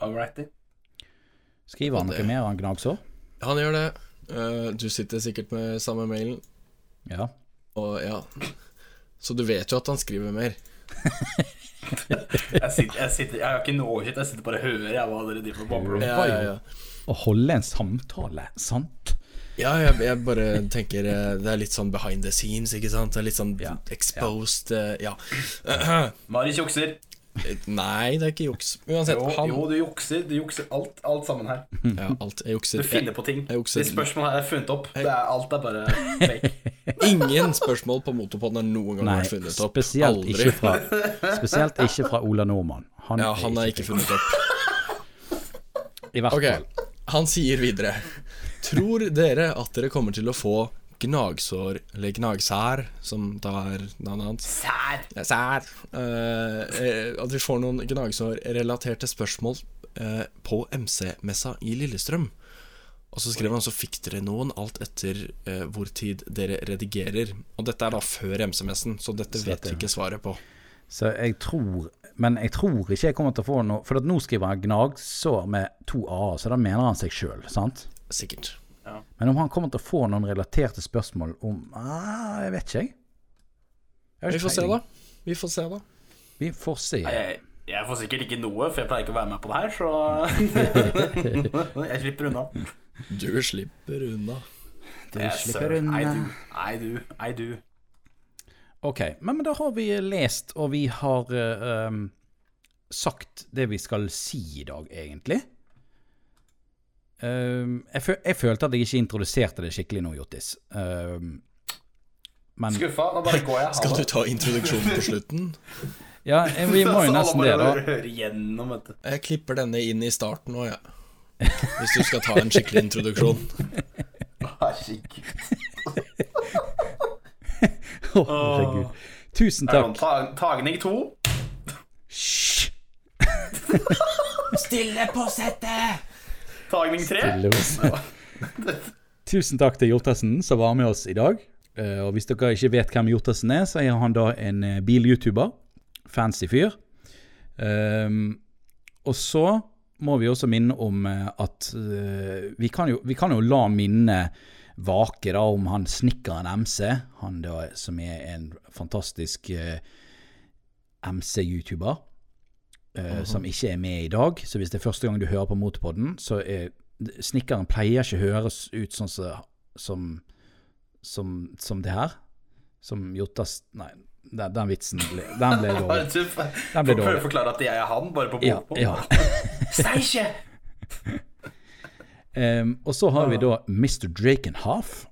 C: Alrighty.
A: Skriver han noe
B: det-
A: mer om gnagsår?
B: Han gjør det. Eh, du sitter sikkert med samme mailen,
A: Ja.
B: og ja Så du vet jo at han skriver mer.
C: Jeg, sitter, jeg, sitter, jeg har ikke noe shit, jeg sitter bare og hører jeg, hva dere driver og babler om.
B: Ja, ja, ja.
A: Å holde en samtale, sant?
B: Ja, jeg, jeg bare tenker eh, Det er litt sånn behind the scenes, ikke sant? Det er litt sånn exposed eh, Ja.
C: Marius jukser.
B: Eh, Nei, det er ikke juks. Uansett,
C: Jo,
B: han
C: jo, du jukser. Du jukser alt, alt sammen her.
B: ja, Alt er jukset.
C: Du finner på ting.
B: Jeg jukser.
C: De spørsmålene her er funnet opp. Det er, alt er bare fake.
B: Ingen spørsmål på motorpodden har noen gang
A: Nei,
B: vært funnet opp.
A: spesielt
B: Aldri.
A: ikke fra Spesielt ikke fra Ola Nordmann. Han,
B: Ja, han er ikke funnet opp.
A: I hvert
B: Ok,
A: fall.
B: han sier videre Tror dere at dere kommer til å få gnagsår, eller gnagsær, som da er navnet hans?
C: Sær!
B: Ja, Sær! Eh, eh, at vi får noen gnagsårrelaterte spørsmål eh, på MC-messa i Lillestrøm. Og så skrev han så fikk dere noen alt etter eh, hvor tid dere redigerer. Og dette er da før MC-messen, så dette vet vi ikke svaret på.
A: Så jeg tror Men jeg tror ikke jeg kommer til å få noe For at nå skriver han gnagsår med to a-er, så da mener han seg sjøl, sant?
B: Sikkert.
A: Men om han kommer til å få noen relaterte spørsmål om ah, Jeg vet ikke, jeg. Jeg har
B: Vi
A: ikke
B: får se,
A: peiling.
B: da. Vi får se, da.
A: Vi får se.
C: Jeg, Eh, jeg får sikkert ikke noe, for jeg pleier ikke å være med på det her, så Jeg slipper unna.
B: Du slipper unna.
A: Du
C: Yes,
A: slipper
C: sir.
A: unna.
C: I do. I do. I do.
A: Ok, men, men da har vi lest, og vi har eh, um, sagt det vi skal si i dag, egentlig. Um, jeg, fø jeg følte at jeg ikke introduserte det skikkelig nå, Jotis. Um, men
C: Skuffa. Nå bare går jeg. Ha
B: Skal du
C: det.
B: ta introduksjonen på slutten?
A: ja, eh, vi må jo
C: Så alle
A: nesten det,
C: bare
A: da.
C: hører gjennom, vet du.
B: Jeg klipper denne inn i starten òg, jeg. Hvis du skal ta en skikkelig introduksjon.
C: Herregud.
A: Å, herregud. Tusen
C: Er det noen
A: takk.
C: ta- Tagning to.
A: Hysj!
F: Stille på settet!
C: Tagning tre.
A: Tusen takk til Hjortesen som var med oss i dag. Eh, Og hvis dere ikke vet hvem Hjortesen er, så er han da en eh, bil-YouTuber. Fancy fyr. Ehm, og så må vi også minne om eh, at eh, vi kan, jo, vi kan jo la minnet vake da om han snekkeren MC, han da som er en fantastisk eh, MC-YouTuber, eh, som ikke er med i dag. Så hvis det er første gang du hører på Motorpodden, så er snekkeren pleier ikke høres ut sånn som som, som, som det her. Som Jotas Nei, den, den vitsen ble, den ble dårlig.
C: Du
A: Den ble
C: prøver
A: dårlig.
C: å forklare at jeg er han, bare på
A: Ja,
C: bokmål.
A: ja.
C: Steikje!
A: Em, og så har vi da Mr. Drakenhoff,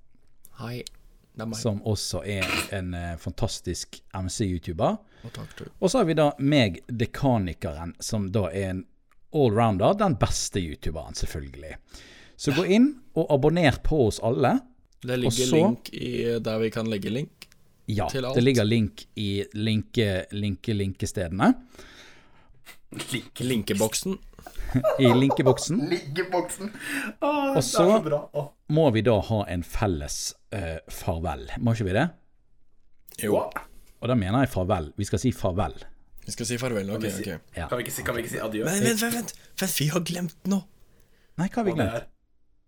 B: Hei. Det er meg.
A: som også er en eh, fantastisk MC-YouTuber.
B: Og takk, du.
A: Og så har vi da meg, dekanikeren, som da er en allrounder. Den beste youtuberen, selvfølgelig. Så gå inn og abonner på oss alle.
B: Det ligger
A: så-
B: link i der vi kan legge link.
A: Ja,
B: Til alt.
A: det ligger link i linke, linke, linkestedene.
C: Ligge-
B: Linkeboksen.
A: I linkeboksen.
C: Liggeboksen. Åh,
A: Og
C: det er
A: så
C: så bra. Åh.
A: må vi da ha en felles eh, farvel. Må ikke vi det?
B: Jo.
A: Og da mener jeg farvel. Vi skal si farvel.
B: Vi skal si farvel. Ok,
C: si-
B: ok.
A: Ja.
C: Kan vi ikke si, kan vi ikke si adjø?
B: Men vent, vent, vent! vent vi har glemt noe!
A: Nei, hva har vi
C: Hva det
A: glemt?
C: er?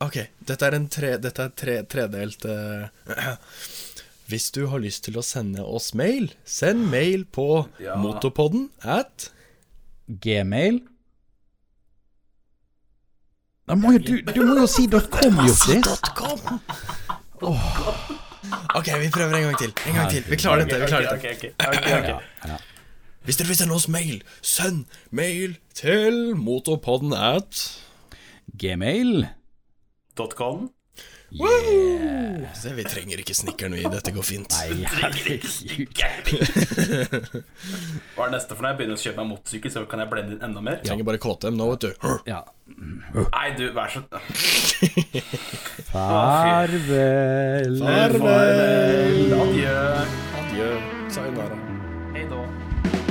B: Ok, dette er en tre, dette er tre, tredelt eh, Hvis du har lyst til å sende oss mail, send mail på
C: Ja.
B: motopodden at
A: Gmail? Da må jo du, du må jo si .com, Jostis.
B: .com. Ok, vi prøver en gang til. En gang til. Vi klarer dette. vi klarer dette
C: Ok, ok, ok, ok, ok.
A: Ja, ja.
B: Hvis dere vil sende oss mail, send mail til motopodden at
A: Gmail.
C: Dot .com.
B: Se, vi trenger ikke snikkeren, vi. Dette går fint.
A: Herregud.
C: Hva er det neste for når jeg begynner å kjøpe meg motorsykkel, så kan jeg blende inn enda mer?
B: Trenger bare KTM nå, vet du.
A: Ja.
C: Nei, du, vær så
A: Farvel.
B: Farvel.
C: Adjø.
B: Adjø. Sayonara.
C: Hei da.